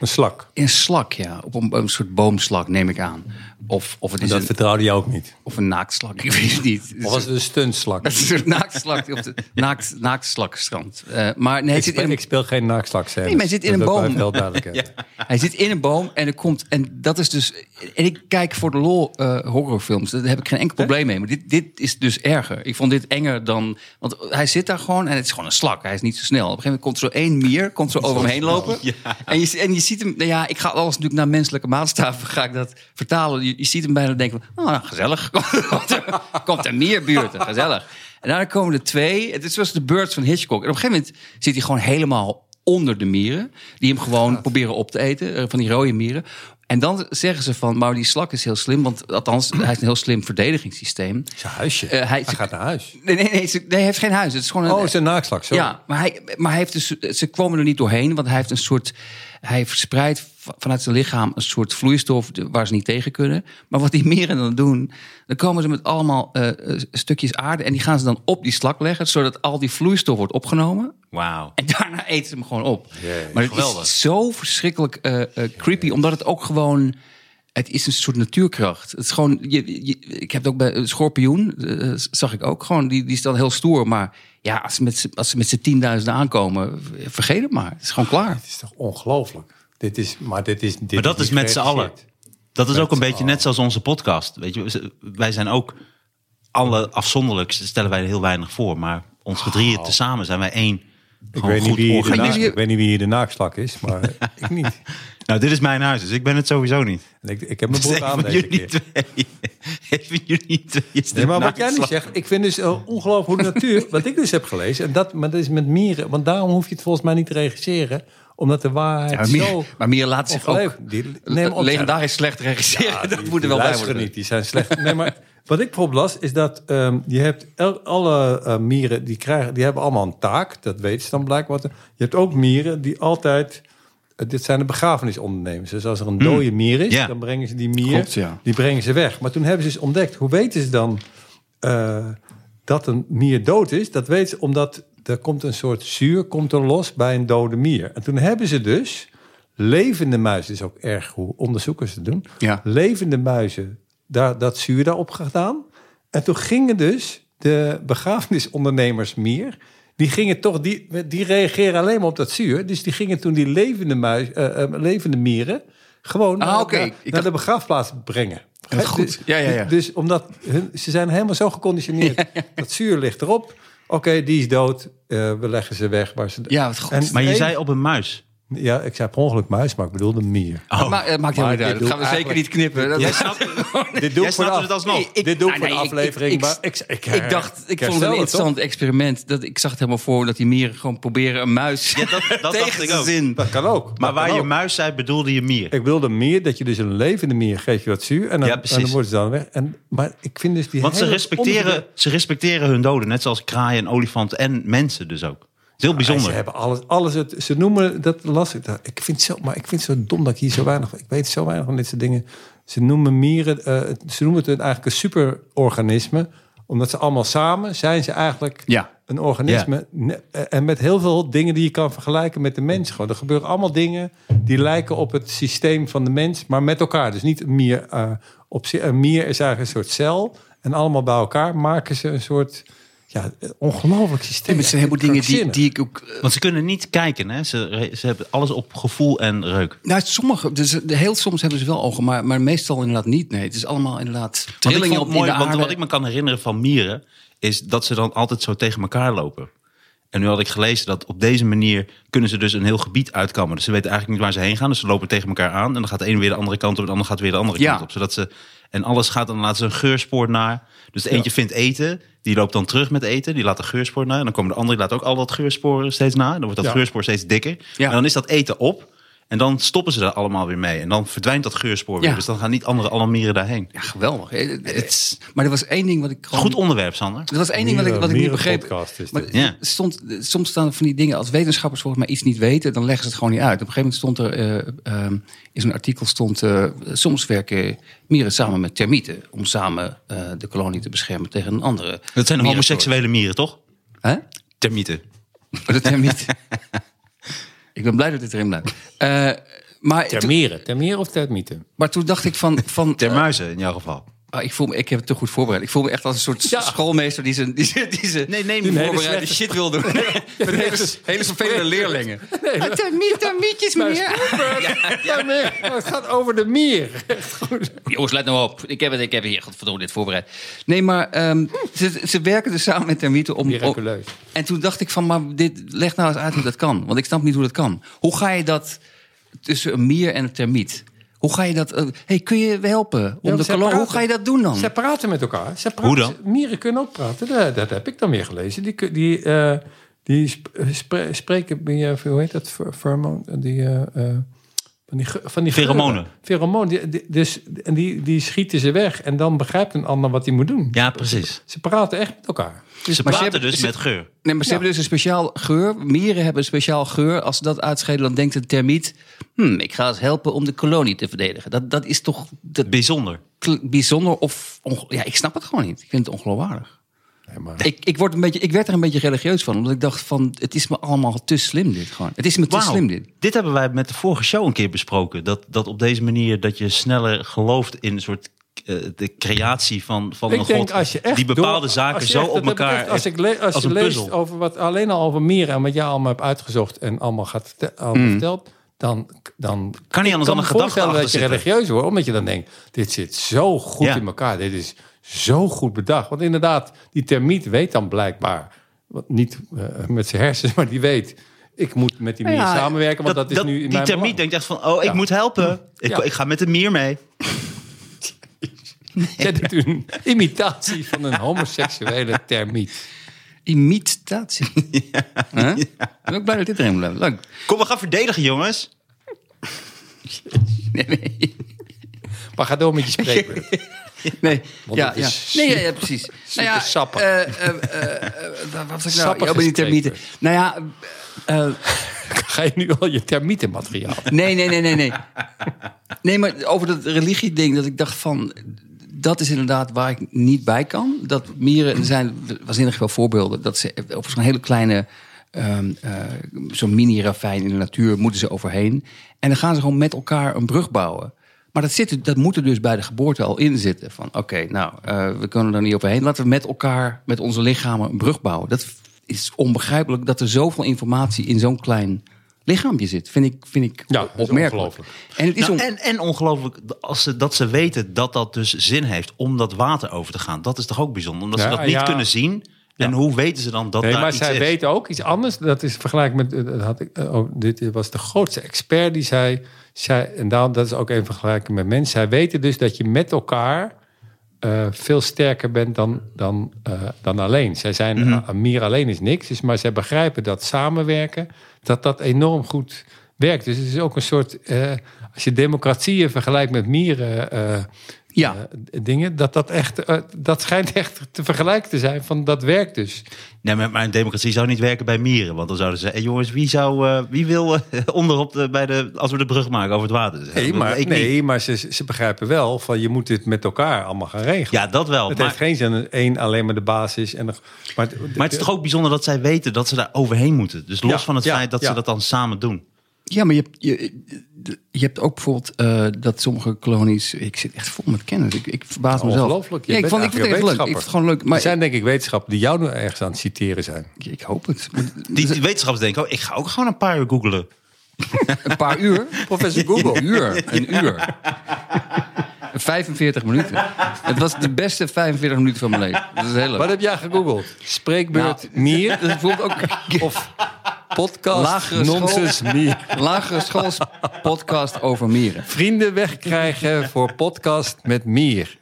Speaker 4: Een slak.
Speaker 5: Een slak, ja. Op een, een soort boomslak, neem ik aan. Of, of het
Speaker 4: En
Speaker 5: is
Speaker 4: dat
Speaker 5: een,
Speaker 4: vertrouwde je ook niet.
Speaker 5: of een naaktslak, ik weet het niet.
Speaker 4: Of was het een stuntslak?
Speaker 5: Dat is een naaktslak op de naakt, naaktslakstrand. Eh, maar nee,
Speaker 4: Ik
Speaker 5: hij zit,
Speaker 4: speel,
Speaker 5: in
Speaker 4: ik
Speaker 5: een,
Speaker 4: speel geen naakslak.
Speaker 5: Nee, maar hij zit in een boom.
Speaker 4: Wel duidelijk hebben.
Speaker 5: hij zit in een boom en er komt. En dat is dus. En ik kijk voor de lol eh, horrorfilms. Daar heb ik geen enkel probleem mee. Maar dit, dit is dus erger. Ik vond dit enger dan. Want hij zit daar gewoon en het is gewoon een slak. Hij is niet zo snel. Op een gegeven moment komt er zo één mier, komt zo over hem heen lopen. En, je, en je ziet hem. Nou ja, ik ga alles natuurlijk naar menselijke maatstaven. Ga ik dat vertalen? Je, je ziet hem bijna denken: van, oh, nou, gezellig. Komt er- komt er meer buurten, gezellig. En daarna komen er twee. Het is zoals de Birds van Hitchcock. En op een gegeven moment zit hij gewoon helemaal onder de mieren. Die hem gewoon proberen op te eten. eh, Van die rode mieren. En dan zeggen ze van, maar die slak is heel slim. Want althans, hij is een heel slim verdedigingssysteem.
Speaker 4: Zijn huisje.
Speaker 5: Eh, hij-
Speaker 4: hij, gaat naar huis.
Speaker 5: Nee, nee, nee, ze- nee, hij heeft geen huis. Het is gewoon een,
Speaker 4: Oh, zijn naakslak. Zo.
Speaker 5: ja, maar, hij, maar hij heeft dus, ze kwamen er niet doorheen, want hij heeft een soort. Hij verspreidt va- vanuit zijn lichaam een soort vloeistof de- waar ze niet tegen kunnen. Maar wat die meren dan doen, dan komen ze met allemaal eh, eh, stukjes aarde en die gaan ze dan op die slak leggen, zodat al die vloeistof wordt opgenomen.
Speaker 6: Wauw.
Speaker 5: En daarna eten ze hem gewoon op. maar het
Speaker 6: geweldig.
Speaker 5: is zo verschrikkelijk eh, eh, creepy, omdat het ook gewoon... Het is een soort natuurkracht. Het is gewoon, je, je- ik heb het ook bij een schorpioen, eh, zag ik ook gewoon. Die, die is dan heel stoer, maar ja, als ze met, z'n- als ze met z'n tienduizenden aankomen, eh, vergeet het maar. Het is gewoon klaar.
Speaker 4: Het is toch ongelooflijk. Dit is, maar dit is. Dit
Speaker 6: Maar dat is met z'n allen.
Speaker 4: geregisseerd.
Speaker 6: Dat is ook een
Speaker 4: z'n
Speaker 6: beetje net zoals onze podcast. Weet je, we- wij zijn ook alle afzonderlijk stellen wij er heel weinig voor, maar ons gedrieën tezamen zijn wij één.
Speaker 4: Ik
Speaker 6: gewoon
Speaker 4: weet, niet
Speaker 6: goed
Speaker 4: wie hier de
Speaker 6: orgaan.
Speaker 5: organisatie.
Speaker 4: naak- ik weet niet wie hier de naakslak is, maar ik niet.
Speaker 6: Nou, dit is mijn huis, dus ik ben het sowieso niet.
Speaker 4: En ik, ik heb mijn
Speaker 6: Dus
Speaker 4: broek
Speaker 6: een
Speaker 4: aan
Speaker 6: van
Speaker 4: deze
Speaker 6: jullie
Speaker 4: keer.
Speaker 6: twee. Een van jullie twee is de
Speaker 4: Nee, maar wat jij nu
Speaker 6: naaktslag.
Speaker 4: zegt, ik vind dus eh, ongelooflijk hoe de natuur, wat ik dus heb gelezen, en dat, maar dat is met mieren, want daarom hoef je het volgens mij niet te regisseren, omdat de waarheid
Speaker 5: maar,
Speaker 4: zo...
Speaker 5: Mier, maar Mier laat zich ook eh,
Speaker 4: ongelooflijk- die, nee, maar op-
Speaker 5: legendarisch slecht regisseren.
Speaker 4: Ja,
Speaker 5: dat
Speaker 4: Ah, die-
Speaker 5: moet er
Speaker 4: die
Speaker 5: wel bij
Speaker 4: luisteren
Speaker 5: worden.
Speaker 4: niet, die zijn slecht. Nee, maar wat ik bijvoorbeeld las, is dat ehm, je hebt el- alle eh, mieren, die, krijgen, die hebben allemaal een taak. Dat weten ze dan blijkbaar. Je hebt ook mieren die altijd... eh, dit zijn de begrafenisondernemers. Dus als er een
Speaker 5: Hmm.
Speaker 4: dode mier is,
Speaker 6: Ja.
Speaker 4: dan brengen ze die mier...
Speaker 5: Klopt, ja.
Speaker 4: Die brengen ze weg. Maar toen hebben ze dus ontdekt, hoe weten ze dan... eh, dat een mier dood is? Dat weten ze omdat er komt een soort zuur komt er los bij een dode mier. En toen hebben ze dus... Levende muizen is ook erg hoe onderzoekers het doen
Speaker 5: Ja.
Speaker 4: levende muizen daar, dat zuur daarop gedaan. En toen gingen dus de begrafenisondernemers meer. Die gingen toch, die, die reageren alleen maar op dat zuur. Dus die gingen toen die levende, muis, eh, eh, levende mieren gewoon
Speaker 5: Ah,
Speaker 4: naar,
Speaker 5: oké.
Speaker 4: naar-
Speaker 5: Ik
Speaker 4: naar
Speaker 5: dacht-
Speaker 4: de begraafplaats brengen.
Speaker 5: Dat is
Speaker 4: Hè,
Speaker 5: goed.
Speaker 4: Dus,
Speaker 5: Ja, ja, ja.
Speaker 4: dus omdat hun, ze zijn helemaal zo geconditioneerd. Dat zuur ligt erop. Oké, die is dood. Eh, we leggen ze weg. Waar ze,
Speaker 5: Ja, wat goed.
Speaker 4: En-
Speaker 6: Maar je
Speaker 4: Nee.
Speaker 6: zei op een muis.
Speaker 4: ja, ik zei per ongeluk muis, maar ik bedoelde mier.
Speaker 5: Maar, eh, maakt helemaal
Speaker 4: Maar
Speaker 5: niet uit.
Speaker 4: dit
Speaker 5: Dat gaan we
Speaker 4: doet
Speaker 5: zeker niet knippen. Dat
Speaker 6: Jij
Speaker 5: is-
Speaker 6: snapt
Speaker 4: Oh,
Speaker 6: het,
Speaker 4: Dit
Speaker 6: jij
Speaker 4: voor de
Speaker 6: snapt
Speaker 4: af-
Speaker 6: het alsnog.
Speaker 5: Nee, ik-
Speaker 4: Dit doe ik
Speaker 5: ah,
Speaker 4: voor de
Speaker 5: nee, ik-
Speaker 4: aflevering,
Speaker 5: ik-
Speaker 4: maar ik, ik,
Speaker 5: Ik dacht, ik vond het
Speaker 4: herstel
Speaker 5: een
Speaker 4: toch?
Speaker 5: interessant experiment. Dat, ik zag het helemaal voor dat die mieren gewoon proberen een muis
Speaker 6: Ja, dat- dat
Speaker 5: tegen
Speaker 6: dacht ik
Speaker 5: te
Speaker 6: ook.
Speaker 5: zin.
Speaker 4: Dat kan ook.
Speaker 6: Maar
Speaker 4: Dat kan
Speaker 6: waar je
Speaker 4: ook.
Speaker 6: muis zei, bedoelde je mier.
Speaker 4: Ik wilde meer dat je dus een levende mier geeft je wat zuur. En dan,
Speaker 6: Ja,
Speaker 4: en
Speaker 6: precies.
Speaker 4: dan worden ze dan weg. En, maar ik vind dus die
Speaker 6: Want ze
Speaker 4: hele
Speaker 6: respecteren,
Speaker 4: onderdeel-
Speaker 6: ze respecteren hun doden. Net zoals kraaien, olifanten en mensen dus ook. Het is heel
Speaker 4: Ze
Speaker 6: bijzonder.
Speaker 4: hebben alles, alles het, ze noemen, dat las ik. daar. Ik vind het zo, maar ik vind het zo dom dat ik hier zo weinig, ik weet zo weinig van dit soort dingen. Ze noemen mieren, eh, ze noemen het eigenlijk een superorganisme. Omdat ze allemaal samen zijn ze eigenlijk
Speaker 5: Ja.
Speaker 4: een organisme. Ne- eh, En met heel veel dingen die je kan vergelijken met de mens. Gewoon. Er gebeuren allemaal dingen die lijken op het systeem van de mens, maar met elkaar. Dus niet een mier eh, op zich. Een mier is eigenlijk een soort cel. En allemaal bij elkaar maken ze een soort ja, eh, ongelooflijk systeem.
Speaker 5: En met zijn heleboel dingen die, die ik ook... eh,
Speaker 6: Want ze kunnen niet kijken. Hè? Ze, re- ze hebben alles op gevoel en reuk.
Speaker 5: Nou, sommige, dus de- heel soms hebben ze wel ogen, maar, maar meestal inderdaad niet. Nee, het is allemaal inderdaad
Speaker 6: Want ik vond
Speaker 5: trillingen
Speaker 6: het
Speaker 5: op
Speaker 6: mooi,
Speaker 5: in de
Speaker 6: want
Speaker 5: aarde.
Speaker 6: wat ik me kan herinneren van mieren... is dat ze dan altijd zo tegen elkaar lopen. En nu had ik gelezen dat op deze manier... kunnen ze dus een heel gebied uitkammen. Dus ze weten eigenlijk niet waar ze heen gaan. Dus ze lopen tegen elkaar aan. En dan gaat de een weer de andere kant op... en de ander gaat weer de andere
Speaker 5: Ja.
Speaker 6: kant op. Zodat ze, en alles gaat, dan laten ze een geurspoor naar. Dus de eentje vindt eten... Die loopt dan terug met eten, die laat een geurspoor na. En dan komen de andere, die laat ook al dat geurspoor steeds na. Dan wordt dat
Speaker 4: Ja.
Speaker 6: geurspoor steeds dikker.
Speaker 5: Ja.
Speaker 6: En dan is dat eten op. En dan stoppen ze daar allemaal weer mee. En dan verdwijnt dat geurspoor weer.
Speaker 5: Ja.
Speaker 6: Dus dan gaan niet andere alle mieren daarheen.
Speaker 5: Ja, geweldig. Eh, eh,
Speaker 6: Het is-
Speaker 5: Maar er was één ding wat ik gewoon...
Speaker 6: Goed onderwerp, Sander.
Speaker 5: Er was één ding wat ik, wat ik niet
Speaker 4: Mieren-
Speaker 5: begreep.
Speaker 4: mierenpodcast is
Speaker 5: Maar
Speaker 4: dit.
Speaker 6: Ja.
Speaker 5: stond, soms staan van die dingen, als wetenschappers volgens mij iets niet weten, dan leggen ze het gewoon niet uit. Op een gegeven moment stond er, eh, ehm, in zo'n artikel stond, eh, soms werken mieren samen met termieten om samen eh, de kolonie te beschermen tegen een andere.
Speaker 6: Dat zijn
Speaker 5: mierensoort.
Speaker 6: homoseksuele mieren, toch?
Speaker 5: Hè?
Speaker 6: Termieten.
Speaker 5: Oh, De termieten. Ik ben blij dat dit erin blijft. Eh, Maar, toen-
Speaker 4: Termieren. Termieren of termieten?
Speaker 5: maar toen dacht ik van... van
Speaker 6: Ter muizen in jouw geval.
Speaker 5: ah, ik, voel me, ik heb het te goed voorbereid. Ik voel me echt als een soort
Speaker 4: Ja.
Speaker 5: schoolmeester die zijn, die zijn, die zijn
Speaker 6: Nee, neem
Speaker 5: die
Speaker 6: een hele
Speaker 5: voorbereide
Speaker 4: slechte-
Speaker 5: shit wil doen. Met hele, hele vervelende leerlingen.
Speaker 4: Nee, dat-
Speaker 5: Mietjes meer.
Speaker 4: Termier. Oh, Het gaat over de mier.
Speaker 5: Jongens, let nou op. Ik heb, het, ik heb hier godverdomme dit voorbereid. Nee, maar ehm, ze, ze werken dus samen met termieten om... om
Speaker 4: Miraculeus.
Speaker 5: en toen dacht ik van, maar dit, leg nou eens uit hoe dat kan. Want ik snap niet hoe dat kan. Hoe ga je dat tussen een mier en een termiet? Hoe ga je dat... eh, hey, kun je helpen? Om
Speaker 4: Ja,
Speaker 5: de
Speaker 4: zij
Speaker 5: kolom, hoe
Speaker 4: praten.
Speaker 5: ga je dat doen dan?
Speaker 4: Ze praten met elkaar. Ze praten-
Speaker 6: Hoe dan?
Speaker 4: Mieren kunnen ook praten. Dat, dat heb ik dan weer gelezen. Die, kun- die, eh, die sp- eh, spre- spreken, bij, eh, hoe heet dat? Fer- Fermo, die, eh, eh, van die, ge- van die geuren.
Speaker 6: Pheromonen.
Speaker 4: Pheromonen. Die- die- dus, en die, die schieten ze weg. En dan begrijpt een ander wat hij moet doen.
Speaker 6: Ja, precies.
Speaker 4: Ze praten echt met elkaar.
Speaker 6: Ze
Speaker 5: Maar ze
Speaker 6: praten
Speaker 5: hebben-
Speaker 6: dus
Speaker 5: ze-
Speaker 6: met geur.
Speaker 5: Nee, maar ze hebben dus een speciaal geur. Mieren hebben een speciaal geur. Als ze dat uitscheiden, dan denkt een termiet... Hmm, ik ga eens helpen om de kolonie te verdedigen. Dat, dat is toch dat
Speaker 6: Bijzonder.
Speaker 5: kl- bijzonder of... onge- Ja, ik snap het gewoon niet. Ik vind het ongeloofwaardig.
Speaker 4: maar-
Speaker 5: ik, ik, word een beetje, ik werd er een beetje religieus van. Omdat ik dacht van, het is me allemaal te slim dit gewoon. Het is me te
Speaker 6: Wauw.
Speaker 5: slim dit.
Speaker 6: Dit hebben wij met de vorige show een keer besproken. Dat, dat op deze manier dat je sneller gelooft in een soort eh, de creatie van, van een
Speaker 4: ik denk
Speaker 6: god.
Speaker 4: als je echt
Speaker 6: die bepaalde
Speaker 4: door-
Speaker 6: zaken
Speaker 4: als je
Speaker 6: zo
Speaker 4: echt-
Speaker 6: op
Speaker 4: dat
Speaker 6: elkaar...
Speaker 4: betreft, als, ik le- als,
Speaker 6: als
Speaker 4: je
Speaker 6: een
Speaker 4: leest
Speaker 6: puzzel.
Speaker 4: over wat alleen al over mieren en wat jij allemaal hebt uitgezocht en allemaal gaat vertel- allemaal verteld, dan dan
Speaker 6: Mm. Kan niet
Speaker 4: ik
Speaker 6: anders dan
Speaker 4: me
Speaker 6: een gedachte
Speaker 4: voorstellen
Speaker 6: achter
Speaker 4: dat je
Speaker 6: zitten.
Speaker 4: religieus wordt, omdat je dan denkt: dit zit zo goed
Speaker 6: Ja.
Speaker 4: in elkaar, dit is zo goed bedacht. Want inderdaad, die termiet weet dan blijkbaar wat niet eh, met zijn hersens, maar die weet. Ik moet met die mier
Speaker 5: Ja,
Speaker 4: samenwerken, want dat, is nu in
Speaker 6: die
Speaker 4: mijn
Speaker 6: termiet
Speaker 4: belang.
Speaker 6: denkt echt van, oh, ik
Speaker 4: Ja.
Speaker 6: moet helpen. Ik,
Speaker 4: Ja.
Speaker 6: ik ga met de mier mee.
Speaker 4: Jij doet een imitatie van een homoseksuele termiet.
Speaker 5: Imitatie. Huh? Ik ben ook blij dat dit erin blijft. Leuk.
Speaker 6: Kom, we gaan verdedigen, jongens.
Speaker 5: Nee, nee.
Speaker 4: Maar ga door met je spreekbeurt.
Speaker 5: Nee, ja,
Speaker 4: het
Speaker 5: ja.
Speaker 4: is
Speaker 5: nee ja,
Speaker 4: super-
Speaker 5: ja, precies.
Speaker 4: super
Speaker 5: ja,
Speaker 4: sappig.
Speaker 5: eh, eh, eh, eh, wat was ik nou?
Speaker 4: Sappig
Speaker 5: Ja, maar die
Speaker 4: is
Speaker 5: termieten. Nou ja, eh, eh,
Speaker 4: Ga je nu al je termietenmateriaal?
Speaker 5: nee, nee, nee, nee, nee. Nee, maar over dat religie-ding, dat ik dacht van... Dat is inderdaad waar ik niet bij kan. Dat mieren, er zijn waanzinnig veel voorbeelden. Dat ze over zo'n hele kleine, ehm, eh, zo'n mini-ravijn in de natuur moeten ze overheen. En dan gaan ze gewoon met elkaar een brug bouwen. Maar dat, zit, er- dat moet er dus bij de geboorte al in zitten. Van oké, nou, eh, we kunnen er niet overheen. Laten we met elkaar, met onze lichamen, een brug bouwen. Dat is onbegrijpelijk dat er zoveel informatie in zo'n klein lichaampje zit. Vind ik, vind ik
Speaker 4: Ja, dat is
Speaker 5: opmerkelijk.
Speaker 4: ongelooflijk.
Speaker 5: En het is
Speaker 6: Nou,
Speaker 5: on-
Speaker 6: en, en ongelooflijk als ze, dat ze weten dat dat dus zin heeft om dat water over te gaan. Dat is toch ook bijzonder, omdat
Speaker 4: Ja,
Speaker 6: ze dat niet
Speaker 4: ja.
Speaker 6: kunnen zien. En hoe weten ze dan dat
Speaker 4: Nee,
Speaker 6: daar
Speaker 4: maar
Speaker 6: iets
Speaker 4: zij
Speaker 6: is?
Speaker 4: weten ook iets anders. Dat is vergelijk met. eh, Dat had ik, eh, oh, dit was de grootste expert die zei. zij en daarom, dat is ook een vergelijking met mensen. Zij weten dus dat je met elkaar eh, veel sterker bent dan, dan, eh, dan alleen. Zij zijn.
Speaker 6: Mhm.
Speaker 4: eh, een mier alleen is niks. Dus, maar zij begrijpen dat samenwerken. dat dat enorm goed werkt. Dus het is ook een soort. eh, als je democratieën vergelijkt met mieren. eh,
Speaker 5: ja.
Speaker 4: eh, dingen, dat dat echt, eh, dat schijnt echt te vergelijken te zijn van dat werkt dus.
Speaker 6: Nee, maar, maar een democratie zou niet werken bij mieren. Want dan zouden ze zeggen, hey, jongens, wie, zou, eh, wie wil eh, onderop de, bij de, als we de brug maken over het water? Dus,
Speaker 4: Nee,
Speaker 6: eh,
Speaker 4: maar,
Speaker 6: ik niet.
Speaker 4: nee, maar ze, ze begrijpen wel van je moet dit met elkaar allemaal gaan regelen.
Speaker 6: Ja, dat wel.
Speaker 4: het
Speaker 6: maar,
Speaker 4: heeft geen zin dat één alleen maar de basis en de, maar,
Speaker 6: maar het is toch ook bijzonder dat zij weten dat ze daar overheen moeten. Dus los
Speaker 4: Ja,
Speaker 6: van het
Speaker 4: ja,
Speaker 6: feit dat
Speaker 4: ja.
Speaker 6: ze dat dan samen doen.
Speaker 5: Ja, maar je, hebt- je, je hebt ook bijvoorbeeld eh, dat sommige kolonies... Ik zit echt vol met kennis. Ik, ik verbaas mezelf.
Speaker 4: ongelooflijk. Je
Speaker 5: Ja, ik,
Speaker 4: bent
Speaker 5: vond, ik vond het echt leuk.
Speaker 4: eigenlijk
Speaker 5: Ik vond het gewoon leuk. Maar
Speaker 4: er zijn denk ik wetenschappen die jou nu ergens aan het citeren zijn.
Speaker 5: ik, ik hoop het. Maar
Speaker 6: Die,
Speaker 4: Dus-
Speaker 6: die wetenschappers denken, oh, ik ga ook gewoon een paar uur googlen.
Speaker 5: Een paar uur. Professor Google. Een uur. Een uur. 45 minuten. Het was de beste 45 minuten van mijn leven. Dat is heel leuk.
Speaker 4: Wat heb jij gegoogeld? Spreekbeurt
Speaker 6: Nou,
Speaker 4: mier
Speaker 5: Dat is bijvoorbeeld ook
Speaker 4: of podcast
Speaker 5: Lagere school.
Speaker 4: nonsens mier?
Speaker 5: lagere schools podcast over mieren.
Speaker 4: Vrienden wegkrijgen voor podcast met mier.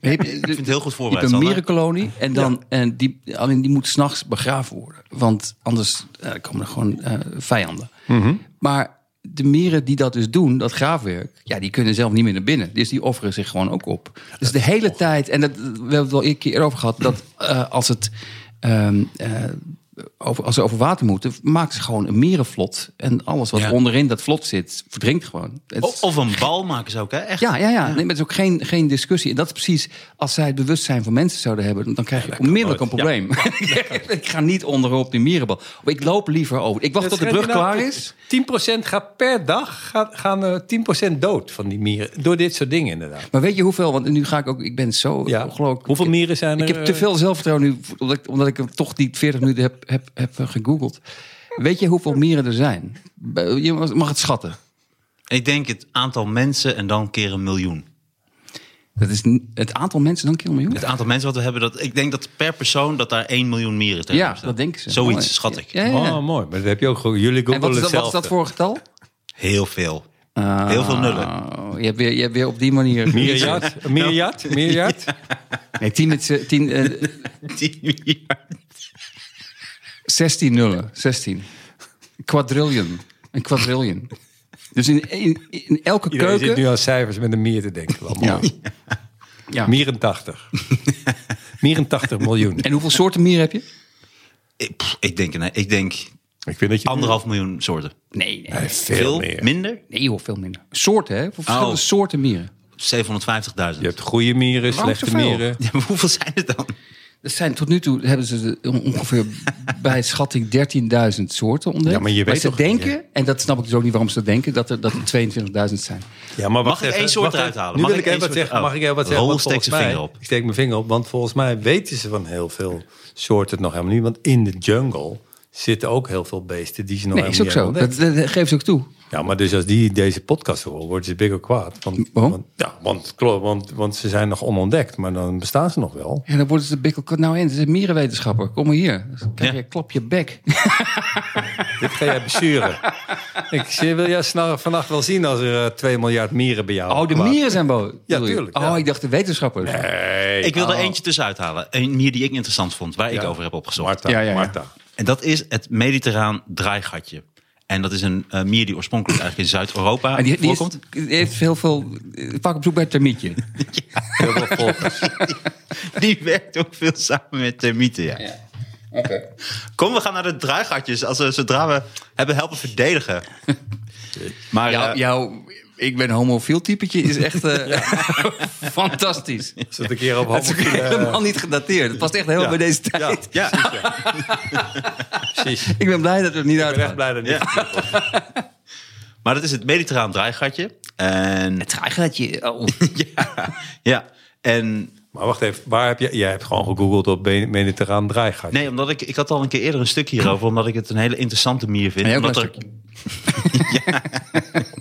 Speaker 5: Je hebt- je
Speaker 6: vind het heel goed voorbereid,
Speaker 5: hebt
Speaker 6: Sander.
Speaker 5: een mierenkolonie. En dan, en die, alleen die moet s'nachts begraven worden. Want anders eh, komen er gewoon eh, vijanden.
Speaker 6: Mhm.
Speaker 5: Maar de mieren die dat dus doen, dat graafwerk... ja, die kunnen zelf niet meer naar binnen. Dus die offeren zich gewoon ook op. Dus de
Speaker 6: Oh.
Speaker 5: hele tijd... en dat, we hebben het al een keer over gehad... dat eh, als het... ehm, eh, over, als ze over water moeten, maken ze gewoon een merenvlot. En alles wat
Speaker 6: Ja. Oh.
Speaker 5: onderin dat vlot zit, verdrinkt gewoon. Het-
Speaker 6: O- Of een bal maken ze ook, hè? Echt.
Speaker 5: ja, ja, ja. Nee, maar het is ook geen, geen discussie. En dat is precies, als zij het bewustzijn van mensen zouden hebben, dan krijg je onmiddellijk een probleem. ik ga niet onderop die mierenbal. Of ik loop liever over. Ik wacht tot de brug
Speaker 4: nou
Speaker 5: klaar is.
Speaker 4: 10% gaat per dag gaat, gaan eh 10% dood van die mieren. Door dit soort dingen inderdaad.
Speaker 5: Maar weet je hoeveel, want nu ga ik ook, ik ben zo
Speaker 4: Ja.
Speaker 5: ongelooflijk.
Speaker 4: Hoeveel mieren zijn er?
Speaker 5: Ik heb te
Speaker 4: eh,
Speaker 5: veel zelfvertrouwen nu, omdat ik, omdat ik hem toch die 40 minuten heb, heb, heb eh, gegoogeld. Weet je hoeveel mieren er zijn? Je mag het schatten.
Speaker 6: Ik denk het aantal mensen en dan keer een miljoen.
Speaker 5: Dat is n- het aantal mensen, dan keer een miljoen.
Speaker 6: Het aantal mensen wat we hebben, dat, ik denk dat per persoon dat daar 1 miljoen mieren tegen
Speaker 5: Ja,
Speaker 6: staan.
Speaker 5: dat denken ze.
Speaker 6: Zoiets
Speaker 5: Oh,
Speaker 6: schat ik.
Speaker 5: Ja, ja, ja.
Speaker 4: Oh, mooi. Maar dat heb je ook gewoon. Jullie
Speaker 5: En wat
Speaker 4: googelen
Speaker 5: is, dat, wat is
Speaker 4: hetzelfde.
Speaker 5: dat voor getal?
Speaker 6: Heel veel. Heel veel nullen.
Speaker 5: Oh, je, hebt weer, je hebt weer op die manier...
Speaker 4: eh, Miljard? Een Miljard? Een Miljard?
Speaker 5: Nee, tien met z'n- tien, eh,
Speaker 6: 10 miljard.
Speaker 5: 16 nullen. 16. Quadrillion. Een quadrillion. Dus in, in, in elke
Speaker 4: Iedereen zit
Speaker 5: keuken...
Speaker 4: nu aan cijfers met een mier te denken. Wel mooi.
Speaker 5: Ja. Ja.
Speaker 4: 84. 84 miljoen.
Speaker 5: En hoeveel soorten mieren heb je?
Speaker 6: Ik, pff, ik denk, nee, ik denk
Speaker 4: Ik vind dat je
Speaker 6: anderhalf miljoen soorten.
Speaker 5: Nee, nee.
Speaker 4: Nee, veel, meer.
Speaker 6: minder?
Speaker 5: Nee joh, veel minder. Soorten, hè? Verschillende
Speaker 6: Oh.
Speaker 5: soorten mieren.
Speaker 6: 750.000.
Speaker 4: Je hebt goede mieren,
Speaker 5: Waarom
Speaker 4: slechte
Speaker 5: zoveel?
Speaker 4: mieren.
Speaker 6: Ja, maar hoeveel zijn het dan?
Speaker 5: Dat zijn, tot nu toe hebben ze de- on- ongeveer bij schatting 13.000 soorten ontdekt.
Speaker 4: Ja, maar je weet
Speaker 5: ze
Speaker 4: toch-
Speaker 5: denken, en dat snap ik dus ook niet waarom ze dat denken, dat er, dat er 22.000 zijn.
Speaker 4: Ja, maar wacht
Speaker 6: Mag ik
Speaker 4: even,
Speaker 6: één soort
Speaker 4: wacht even.
Speaker 6: eruit halen?
Speaker 4: Nu
Speaker 6: Mag
Speaker 4: wil
Speaker 6: ik
Speaker 4: ik even
Speaker 6: één
Speaker 4: wat
Speaker 6: soort-
Speaker 4: zeggen.
Speaker 6: oh.
Speaker 4: Mag ik even wat zeggen?
Speaker 6: Rol
Speaker 4: Want
Speaker 6: steekt
Speaker 4: volgens
Speaker 6: zijn
Speaker 4: mij-
Speaker 6: vinger op.
Speaker 4: Ik steek mijn vinger op, want volgens mij weten ze van heel veel soorten het nog helemaal niet. Want in de jungle zitten ook heel veel beesten die ze nog
Speaker 5: Nee, is
Speaker 4: helemaal
Speaker 5: ook
Speaker 4: niet
Speaker 5: zo.
Speaker 4: hebben
Speaker 5: Dat,
Speaker 4: ontdekt.
Speaker 5: dat, dat geeft ze ook toe.
Speaker 4: Ja, maar dus als die deze podcast horen, worden ze big of kwaad. Want,
Speaker 5: Waarom?
Speaker 4: Want, ja, want, klo- want, want ze zijn nog onontdekt, maar dan bestaan ze nog wel.
Speaker 5: En dan worden ze de bikkel. Nou, eens, het is mierenwetenschapper. Kom maar hier. Dan krijg
Speaker 6: Ja.
Speaker 5: je, klap je bek.
Speaker 4: Dit ga jij besturen. ik zie- wil jij s'nacht- vannacht wel zien als er eh, 2 miljard mieren bij jou
Speaker 5: Oh, de
Speaker 4: kwaad-
Speaker 5: mieren zijn boos. bedoel je?
Speaker 4: tuurlijk,
Speaker 5: Oh,
Speaker 4: ja.
Speaker 5: ik dacht de wetenschapper.
Speaker 4: Nee,
Speaker 6: Ik wil
Speaker 5: Oh.
Speaker 6: er eentje tussenuit halen. Een mier die ik interessant vond, waar ik over heb opgezocht.
Speaker 4: Marta,
Speaker 5: Ja, ja, ja.
Speaker 4: Marta.
Speaker 6: En dat is het mediterraan draaigatje. En dat is een eh, mier die oorspronkelijk eigenlijk in Zuid-Europa
Speaker 5: En Ah, die, die, is-
Speaker 6: voorkomt.
Speaker 5: die heeft heel veel... eh, Vaak op zoek bij het termietje.
Speaker 4: Heel veel volgers.
Speaker 6: Die werkt ook veel samen met termieten, ja. Kom, we gaan naar de draaigatjes. Als we, zodra we hebben helpen verdedigen. Maar
Speaker 5: Jou-
Speaker 6: eh,
Speaker 5: jouw ik ben homofiel typetje is echt eh, fantastisch.
Speaker 4: Als het een keer op
Speaker 5: Het is ook
Speaker 4: homofiele-
Speaker 5: helemaal niet gedateerd. Het past echt helemaal bij deze tijd.
Speaker 4: eh, Ja,
Speaker 6: ja,
Speaker 4: precies.
Speaker 5: Ik ben blij dat we er niet
Speaker 4: Ik ben echt
Speaker 5: uit
Speaker 4: blij dat niet.
Speaker 6: maar dat is het mediterraan draaigatje. En
Speaker 5: Traagratje. Oh.
Speaker 6: ja, en
Speaker 4: Maar wacht even, waar heb je, jij hebt gewoon gegoogeld op ben- mediterraan draaigat.
Speaker 6: nee, omdat ik, ik had al een keer eerder een stuk hierover, omdat ik het een hele interessante mier vind.
Speaker 5: Nee, ook
Speaker 6: omdat
Speaker 5: een
Speaker 6: er-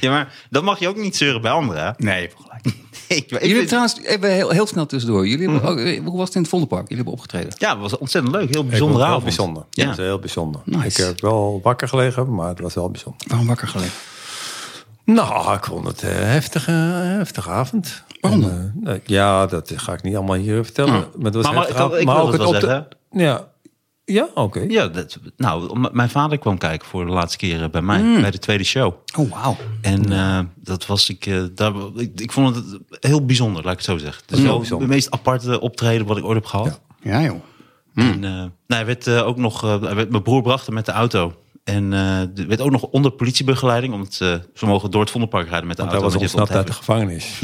Speaker 6: ja, maar dat mag je ook niet zeuren bij anderen. hè?
Speaker 5: Nee, je hebt gelijk.
Speaker 6: Nee, maar ik
Speaker 5: Jullie hebben
Speaker 6: vind-
Speaker 5: trouwens, even heel, heel snel tussendoor. Jullie hebben, ook-
Speaker 4: Mhm.
Speaker 5: eh, hoe was het in het Vondelpark? Jullie hebben opgetreden.
Speaker 6: Ja, het was ontzettend leuk.
Speaker 4: Ik
Speaker 6: Heel
Speaker 4: vond
Speaker 6: bijzonder
Speaker 4: het heel
Speaker 6: avond.
Speaker 4: bijzonder. Ja.
Speaker 6: Ja.
Speaker 4: Dat is heel bijzonder.
Speaker 5: Nice.
Speaker 4: Ik heb wel wakker gelegen, maar het was wel bijzonder.
Speaker 5: Waarom wakker gelegen?
Speaker 4: Nou, ik vond het eh, heftige, heftige avond.
Speaker 5: Waarom
Speaker 4: En, eh, nee, ja, dat ga ik niet allemaal hier vertellen. Maar het was
Speaker 6: Oh. Maar- maar
Speaker 4: heftig
Speaker 6: ik kan-
Speaker 4: avond.
Speaker 6: ik
Speaker 4: maar
Speaker 6: wil
Speaker 4: ook
Speaker 6: het wel
Speaker 4: op de- Ja, ja oké.
Speaker 6: Ja, dat, nou, m- mijn vader kwam kijken voor de laatste keer eh, bij mij,
Speaker 4: Mm.
Speaker 6: bij de tweede show.
Speaker 5: Oh, wauw.
Speaker 6: En eh, dat was ik, eh, daar, ik, ik vond het heel bijzonder, laat ik het zo zeggen. Het is wel
Speaker 4: bijzonder.
Speaker 6: het meest aparte optreden wat ik ooit heb gehad.
Speaker 5: Ja, joh.
Speaker 4: Mm.
Speaker 6: En, eh, nou, hij werd eh, ook nog, eh, hij werd, mijn broer bracht hem met de auto. En eh werd ook nog onder politiebegeleiding, omdat eh, ze mogen door het Vondelpark rijden met de
Speaker 4: Want hij
Speaker 6: auto.
Speaker 4: was
Speaker 6: want je
Speaker 4: ontsnapt
Speaker 6: hebt
Speaker 4: uit de
Speaker 6: wat
Speaker 4: gevangenis.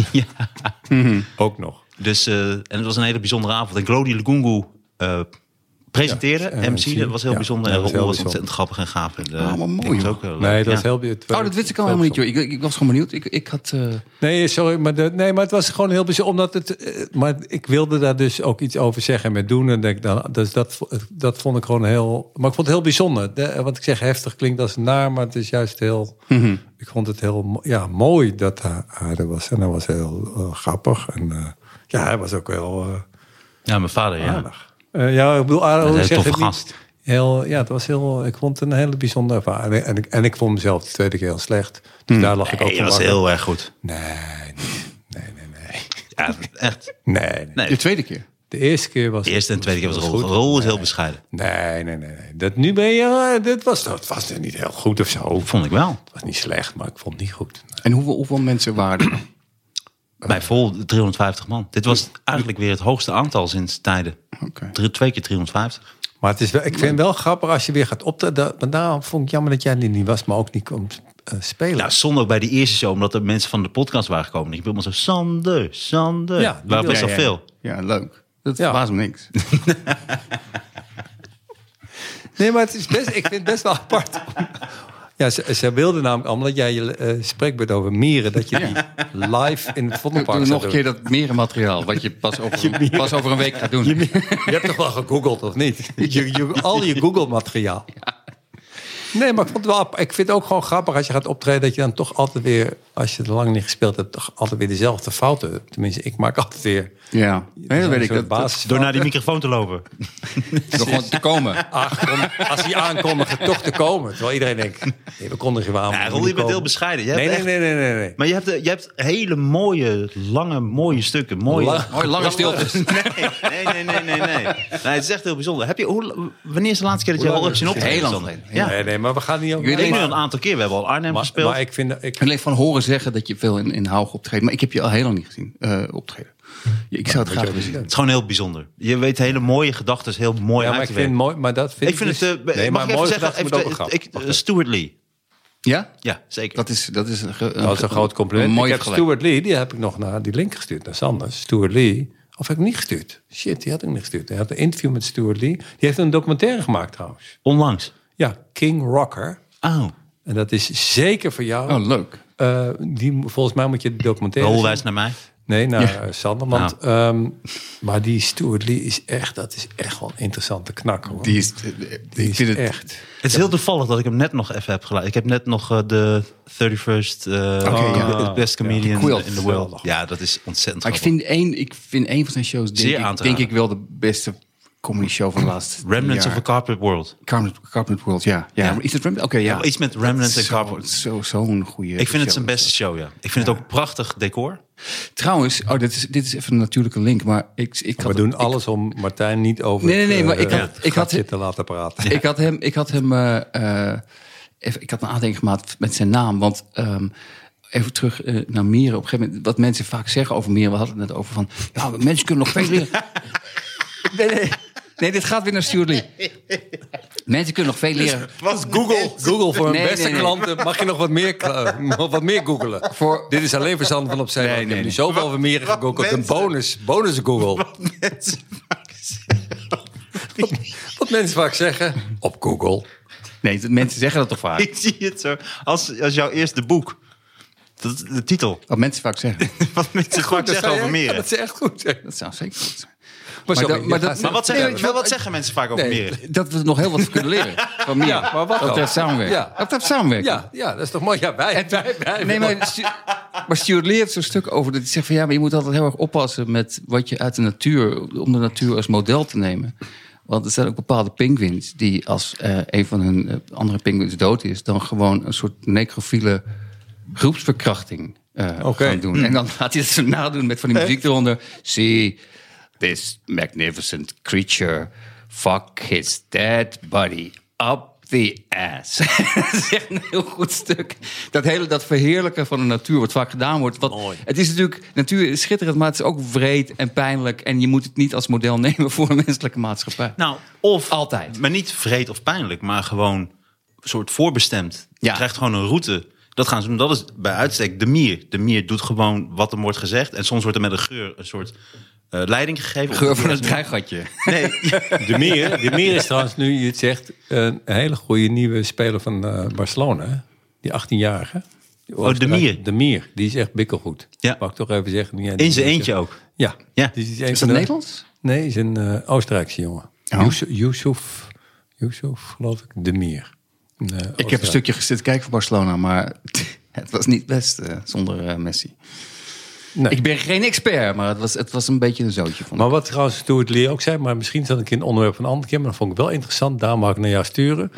Speaker 6: heavy. Ja.
Speaker 4: ook nog.
Speaker 6: Dus, eh, en het was een hele bijzondere avond. En Glody Lugungu eh, presenteerde,
Speaker 4: eh,
Speaker 6: MC, dat was heel
Speaker 4: ja,
Speaker 6: bijzonder.
Speaker 4: dat
Speaker 6: En
Speaker 4: was
Speaker 6: Ron
Speaker 4: heel
Speaker 6: was
Speaker 4: bijzonder.
Speaker 6: ontzettend grappig en gaaf. En, eh,
Speaker 5: Ah, wat mooi,
Speaker 6: ik was
Speaker 5: joh.
Speaker 6: ook heel leuk.
Speaker 4: Nee, dat
Speaker 6: Ja.
Speaker 4: was heel... het-
Speaker 5: Oh, dat wist ik al helemaal niet, joh. Ik, ik was gewoon benieuwd. Ik, ik had... eh,
Speaker 4: Nee, sorry, maar, de, nee, maar het was gewoon heel bijzonder. Omdat het, eh, maar ik wilde daar dus ook iets over zeggen en met doen. En denk, dan, dus dat, vo- dat vond ik gewoon heel. Maar ik vond het heel bijzonder. De, eh, wat ik zeg heftig klinkt als naar, maar het is juist heel.
Speaker 6: Mhm.
Speaker 4: Ik vond het heel mo- ja, mooi dat hij, hij er was. En hij was heel eh, grappig. En eh, ja, hij was ook heel eh,
Speaker 6: Ja, mijn vader, ja.
Speaker 4: aardig. Eh, ja, ik bedoel, aardig.
Speaker 6: Dat is
Speaker 4: hoe zeg
Speaker 6: een
Speaker 4: je
Speaker 6: toffe
Speaker 4: het niet?
Speaker 6: gast.
Speaker 4: Heel, ja, het was heel. Ik vond het een hele bijzondere ervaring. En, ik, en ik vond mezelf de tweede keer heel slecht. Dus daar lag ik ook
Speaker 6: Mhm. Nee,
Speaker 4: van.
Speaker 6: dat was
Speaker 4: wakker.
Speaker 6: heel erg goed.
Speaker 4: Nee, niet. nee, nee, nee.
Speaker 6: Ja, echt.
Speaker 4: Nee, nee.
Speaker 6: Nee.
Speaker 5: de tweede keer.
Speaker 4: De eerste keer was
Speaker 6: De eerste en tweede keer was
Speaker 4: goed.
Speaker 6: Rol. Rol is heel bescheiden.
Speaker 4: Nee, nee, nee. nee. Dat, nu ben je... eh, Dit was, dat was er niet heel goed of zo. Het
Speaker 6: Vond ik wel.
Speaker 4: was niet slecht, maar ik vond het niet goed.
Speaker 5: En hoeveel, hoeveel mensen waren er?
Speaker 6: Bij vol 350 man. Dit was eigenlijk weer het hoogste aantal sinds tijden.
Speaker 5: Oké.
Speaker 6: Drie- Twee keer 350.
Speaker 4: Maar het is wel, ik vind het wel grappig als je weer gaat optreden. Maar daarom vond ik jammer dat jij er niet was, maar ook niet kon eh, spelen.
Speaker 6: Nou, zondag bij die eerste show, omdat er mensen van de podcast waren gekomen. Ik bedoel, zo, Sander, Sander.
Speaker 4: Ja,
Speaker 6: Ja,
Speaker 4: die
Speaker 6: waren
Speaker 4: wil-
Speaker 6: best wel
Speaker 5: Ja, ja.
Speaker 6: veel.
Speaker 5: Ja, leuk. Dat
Speaker 4: Ja.
Speaker 5: verbaast me niks.
Speaker 4: Nee, maar het is best, ik vind het best wel apart. Ja, ze, ze wilden namelijk allemaal dat jij je eh, spreekbeurt over mieren. Dat je die live in het
Speaker 5: Doe
Speaker 4: Vondelpark
Speaker 5: doe nog
Speaker 4: zou
Speaker 5: een
Speaker 4: doen.
Speaker 5: keer dat merenmateriaal, wat je pas over, pas over een week gaat doen.
Speaker 4: Je hebt toch wel gegoogeld, of niet? Je, je- al je Google-materiaal. Nee, maar ik, vond het wel, app- ik vind het ook gewoon grappig als je gaat optreden... dat je dan toch altijd weer, als je het lang niet gespeeld hebt... toch altijd weer dezelfde fouten. Tenminste, ik maak altijd weer...
Speaker 5: Ja, nee, dat weet ik. Dat, dat,
Speaker 4: basis
Speaker 6: Door naar die microfoon te lopen.
Speaker 5: door gewoon te komen.
Speaker 4: als die aankondigen toch te komen. Terwijl iedereen denkt, nee, we kondigen je aan.
Speaker 6: Ja,
Speaker 4: we
Speaker 6: Roel,
Speaker 4: moeten
Speaker 6: je bent heel
Speaker 4: komen.
Speaker 6: bescheiden. Je hebt
Speaker 4: Nee, nee,
Speaker 6: echt-
Speaker 4: nee, nee, nee. nee.
Speaker 6: Maar je hebt, eh, je hebt hele mooie, lange, mooie stukken. Mooie...
Speaker 4: La-
Speaker 5: Mooi, lange stilte.
Speaker 6: Nee, nee, nee, nee, nee. nee. Het is echt heel bijzonder. Heb je, hoe, wanneer is de laatste keer dat je
Speaker 4: Hoe
Speaker 6: al
Speaker 4: lang
Speaker 6: hebt zien
Speaker 4: is het?
Speaker 6: optreden?
Speaker 5: Heel lang
Speaker 6: Sander?
Speaker 5: geleden.
Speaker 4: Nee,
Speaker 6: Ja,
Speaker 4: nee, maar we gaan niet over.
Speaker 5: Ik weet
Speaker 6: ik nu
Speaker 5: maar-
Speaker 6: al een aantal keer. We hebben al Arnhem
Speaker 4: maar,
Speaker 6: gespeeld.
Speaker 4: maar ik vind dat ik.
Speaker 5: Ik leef van horen zeggen dat je veel in, in Haug optreedt. Maar ik heb je al heel lang niet gezien eh, optreden. Ja, Ik zou het graag willen zien.
Speaker 6: Het is gewoon heel bijzonder. Je weet hele mooie gedachten, heel mooi
Speaker 4: Ja, maar
Speaker 6: uit
Speaker 4: ik
Speaker 6: te
Speaker 4: vind
Speaker 6: werken.
Speaker 4: mooi, maar dat vind
Speaker 6: Ik vind
Speaker 4: dus-
Speaker 6: het... eh,
Speaker 4: nee,
Speaker 6: mag
Speaker 4: maar
Speaker 6: ik even
Speaker 4: mooi
Speaker 6: zeggen?
Speaker 4: gedacht moet ook
Speaker 6: Even,
Speaker 4: een grap.
Speaker 6: ik,
Speaker 4: Wacht
Speaker 6: eh,
Speaker 4: even.
Speaker 6: Stuart Lee.
Speaker 5: Ja?
Speaker 6: Ja, zeker.
Speaker 5: Dat is, dat is een, ge-
Speaker 4: Dat is een groot compliment.
Speaker 5: Een
Speaker 4: ik
Speaker 5: mooie
Speaker 4: heb
Speaker 5: vergelijking.
Speaker 4: Stuart Lee, die heb ik nog naar die link gestuurd, naar Sander. Stuart Lee. Of heb ik niet gestuurd? Shit, die had ik niet gestuurd. Hij had een interview met Stuart Lee. Die heeft een documentaire gemaakt trouwens.
Speaker 6: Onlangs.
Speaker 4: Ja, King Rocker.
Speaker 6: Oh.
Speaker 4: En dat is zeker voor jou.
Speaker 5: Oh, leuk.
Speaker 4: Eh, die, mo- volgens mij moet je de documentaire
Speaker 6: Roel
Speaker 4: zien.
Speaker 6: wijst naar mij.
Speaker 4: Nee, naar eh, Sander. Want,
Speaker 5: Ah.
Speaker 4: ehm, maar die Stuart Lee is echt, dat is echt wel een interessante knakker. Hoor.
Speaker 5: Die is,
Speaker 4: Die
Speaker 5: ik
Speaker 4: is
Speaker 5: vind het,
Speaker 4: echt.
Speaker 6: Het is heel toevallig dat ik hem net nog even heb geluisterd. Ik heb net nog eh, de 31st eh,
Speaker 5: ja.
Speaker 6: Best Comedian
Speaker 5: Quilt.
Speaker 6: in the World. Ja, dat is ontzettend
Speaker 5: Maar ik
Speaker 6: grappig.
Speaker 5: vind één, ik vind één van zijn shows, denk,
Speaker 6: Zeer aan
Speaker 5: ik,
Speaker 6: te
Speaker 5: denk ik
Speaker 6: raden.
Speaker 5: wel de beste comedy show van de laatste
Speaker 6: Remnants
Speaker 5: jaar.
Speaker 6: of a Carpet World.
Speaker 5: Carpet, Carpet World, ja. ja. maar Is het Remnant? Oké, ja.
Speaker 6: Ja, iets met Remnant en
Speaker 5: Zo-
Speaker 6: Carpet.
Speaker 5: zo- Zo'n goede
Speaker 6: Ik vind
Speaker 5: show.
Speaker 6: het zijn beste show, ja. Ik vind het ook prachtig decor.
Speaker 5: Trouwens, oh, dit, is, dit is even een natuurlijke link, maar ik, ik had
Speaker 4: We doen alles om Martijn niet over
Speaker 5: Nee, nee, nee, maar ik
Speaker 4: eh,
Speaker 5: had- ik
Speaker 4: het
Speaker 5: had-
Speaker 4: gatje te laten praten.
Speaker 5: Ik had hem, ik had hem, eh, eh, even, ik had een aandenking gemaakt met zijn naam, want ehm, even terug eh, naar Mieren. Op een gegeven moment, wat mensen vaak zeggen over Mieren, we hadden het net over van, ja, maar mensen kunnen nog veel leren. nee, nee, nee, dit gaat weer naar Stuart Lee. Mensen kunnen nog
Speaker 4: Dus-
Speaker 5: veel leren.
Speaker 4: Was Google, Google voor hun
Speaker 5: Nee,
Speaker 4: beste
Speaker 5: nee, nee.
Speaker 4: klanten. Mag je nog wat meer, kla- nog wat meer googelen?
Speaker 5: Voor-
Speaker 4: Dit is alleen verstand van opzij.
Speaker 5: Nee,
Speaker 4: ik
Speaker 5: nee,
Speaker 4: heb nu
Speaker 5: nee.
Speaker 4: zoveel van meer
Speaker 6: wat
Speaker 4: gegoogeld. Een
Speaker 6: mensen-
Speaker 4: bonus, bonus Google.
Speaker 6: Mensen vaak zeggen.
Speaker 4: Wat mensen vaak zeggen op Google.
Speaker 5: Nee, dat- mensen zeggen dat toch vaak?
Speaker 6: Ik zie het zo. Als, als jouw eerste boek. Dat, de titel.
Speaker 5: Wat Oh, mensen vaak zeggen.
Speaker 6: Wat mensen vaak
Speaker 4: Dat
Speaker 6: zeggen
Speaker 4: zei
Speaker 6: over
Speaker 4: jij? Ja,
Speaker 6: meren.
Speaker 4: dat is echt goed. hè.
Speaker 5: Dat zou zeker goed zijn.
Speaker 4: Maar,
Speaker 5: dat-
Speaker 4: sorry,
Speaker 5: maar
Speaker 4: ja,
Speaker 5: dat-
Speaker 6: Maar wat
Speaker 5: Nee,
Speaker 6: zeggen,
Speaker 5: weet je
Speaker 6: wel,
Speaker 5: wat-
Speaker 6: wat zeggen mensen vaak over
Speaker 4: Nee.
Speaker 6: meren?
Speaker 5: Dat we nog heel wat kunnen leren van Mieren.
Speaker 4: Ja, maar wat
Speaker 5: dat
Speaker 4: dan?
Speaker 5: betreft samenwerken.
Speaker 4: Ja.
Speaker 5: Dat betreft samenwerken.
Speaker 4: ja, ja, dat is toch mooi. Ja, wij, wij, wij.
Speaker 5: Nee, maar, Stu- maar Stuart leert zo'n stuk over dat hij zegt van ja, maar je moet altijd heel erg oppassen met wat je uit de natuur, om de natuur als model te nemen. Want er zijn ook bepaalde pinguïns die als eh, een van hun eh, andere pinguïns dood is, dan gewoon een soort necrofiele groepsverkrachting eh,
Speaker 4: Oké.
Speaker 5: gaan doen. En dan gaat hij dat zo nadoen met van die muziek eronder. See this magnificent creature fuck his dead body up the ass. dat is echt een heel goed stuk. Dat hele dat verheerlijken van de natuur wat vaak gedaan wordt. Want Het is natuurlijk, natuur is schitterend, maar het is ook wreed en pijnlijk. En je moet het niet als model nemen voor een menselijke maatschappij.
Speaker 6: Nou, of
Speaker 5: Altijd.
Speaker 6: Maar niet vreed of pijnlijk, maar gewoon een soort voorbestemd. Je
Speaker 5: Ja.
Speaker 6: krijgt gewoon een route. Dat gaan ze doen. Dat is bij uitstek de mier. De mier doet gewoon wat er wordt gezegd. En soms wordt er met een geur een soort eh, leiding gegeven.
Speaker 5: Geur van een dreigatje.
Speaker 4: De Meer, de Meer is trouwens nu, je het zegt, een hele goede nieuwe speler van eh, Barcelona. hè? Die 18-jarige. Die
Speaker 6: Oh, De Mier.
Speaker 4: De Mier, die is echt bikkelgoed.
Speaker 6: Ja.
Speaker 4: Mag ik toch even zeggen. nu jij die
Speaker 6: In zijn
Speaker 4: zegt.
Speaker 6: eentje ook.
Speaker 4: Ja.
Speaker 6: Ja.
Speaker 4: Dus die een
Speaker 5: Is
Speaker 4: van
Speaker 5: dat
Speaker 4: de-
Speaker 5: Nederlands?
Speaker 4: Nee, is een eh, Oostenrijkse jongen. Yusuf, Yusuf, Yusuf, geloof ik, De Mier. Een, eh,
Speaker 5: Ik heb een
Speaker 4: Oostenrijker.
Speaker 5: stukje gezeten kijken van Barcelona, maar het was niet best eh, zonder eh, Messi.
Speaker 4: Nee.
Speaker 5: Ik ben geen expert, maar het was, het was een beetje een zootje van.
Speaker 4: Maar wat trouwens Stuart Lee ook zei, maar misschien zat ik in het onderwerp van een andere keer, maar dat vond ik wel interessant, daar mag ik naar jou sturen.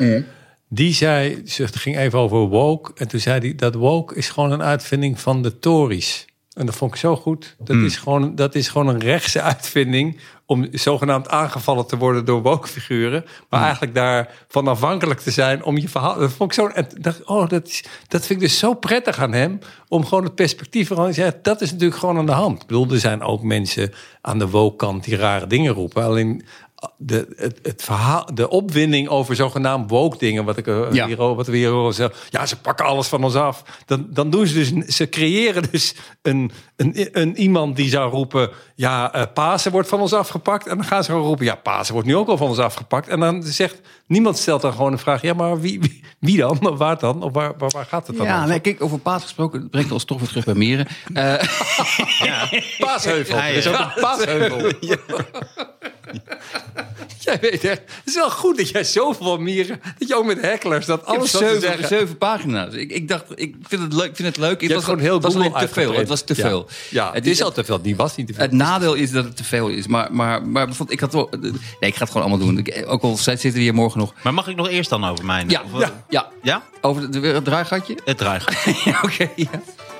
Speaker 4: Die zei, ze het ging even over woke, en toen zei hij dat woke is gewoon een uitvinding van de Tories. En dat vond ik zo goed. Dat, is, gewoon, dat is gewoon een rechtse uitvinding om zogenaamd aangevallen te worden door woke-figuren. Maar eigenlijk daarvan afhankelijk te zijn om je verhaal. Dat vond ik zo. en dacht, ik, oh, dat, is- dat vind ik dus zo prettig aan hem. Om gewoon het perspectief gewoon te zeggen. Dat is natuurlijk gewoon aan de hand. Ik bedoel, er zijn ook mensen aan de woke-kant die rare dingen roepen. Alleen. eh, De, het, het verhaal, de opwinding over zogenaamd woke dingen, wat, ik, eh,
Speaker 5: Ja.
Speaker 4: hier al- wat we hier horen zeggen. Ja, ze pakken alles van ons af. Dan, dan doen ze dus, ze creëren dus een, een, een iemand die zou roepen... ja, eh Pasen wordt van ons afgepakt. En dan gaan ze gewoon roepen, ja, Pasen wordt nu ook al van ons afgepakt. En dan zegt, niemand stelt dan gewoon een vraag... ja, maar wie, wie, wie dan? Of Waar dan? Of waar, waar, waar gaat het dan
Speaker 5: Ja,
Speaker 4: over?
Speaker 5: nee, kijk, over paas gesproken, dat brengt ons toch weer terug bij mieren. Eh,
Speaker 4: Paasheuvel. Er is ook een paasheuvel. Jij weet echt, het is wel goed dat jij zoveel van mieren... dat je ook met hecklers dat alles
Speaker 5: ik
Speaker 4: zo
Speaker 5: heb
Speaker 4: te
Speaker 5: zeven,
Speaker 4: zeggen...
Speaker 5: zeven pagina's. Ik, ik dacht, ik vind het leuk. Ik vind het leuk. Het
Speaker 4: Je
Speaker 5: was,
Speaker 4: hebt gewoon heel
Speaker 5: het was alleen
Speaker 4: Google
Speaker 5: te veel. Het was te
Speaker 4: uitgeprint.
Speaker 5: veel.
Speaker 4: Ja, Ja, het is al te veel. Die was niet te veel.
Speaker 5: Het nadeel is dat het te veel is. Maar, maar, maar bijvoorbeeld, ik had wel. Nee, ik ga het gewoon allemaal doen. Ik- Ook al zitten we hier morgen nog.
Speaker 6: Maar mag ik nog eerst dan over mijn...
Speaker 5: Ja,
Speaker 6: of-
Speaker 5: ja. ja.
Speaker 6: Ja?
Speaker 5: Over het, weer het draaigatje?
Speaker 6: Het draaigat.
Speaker 5: Ja, Oké, ja.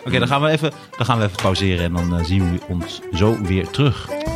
Speaker 6: Oké, dan gaan we even, dan gaan we even pauzeren en dan eh, zien we ons zo weer terug.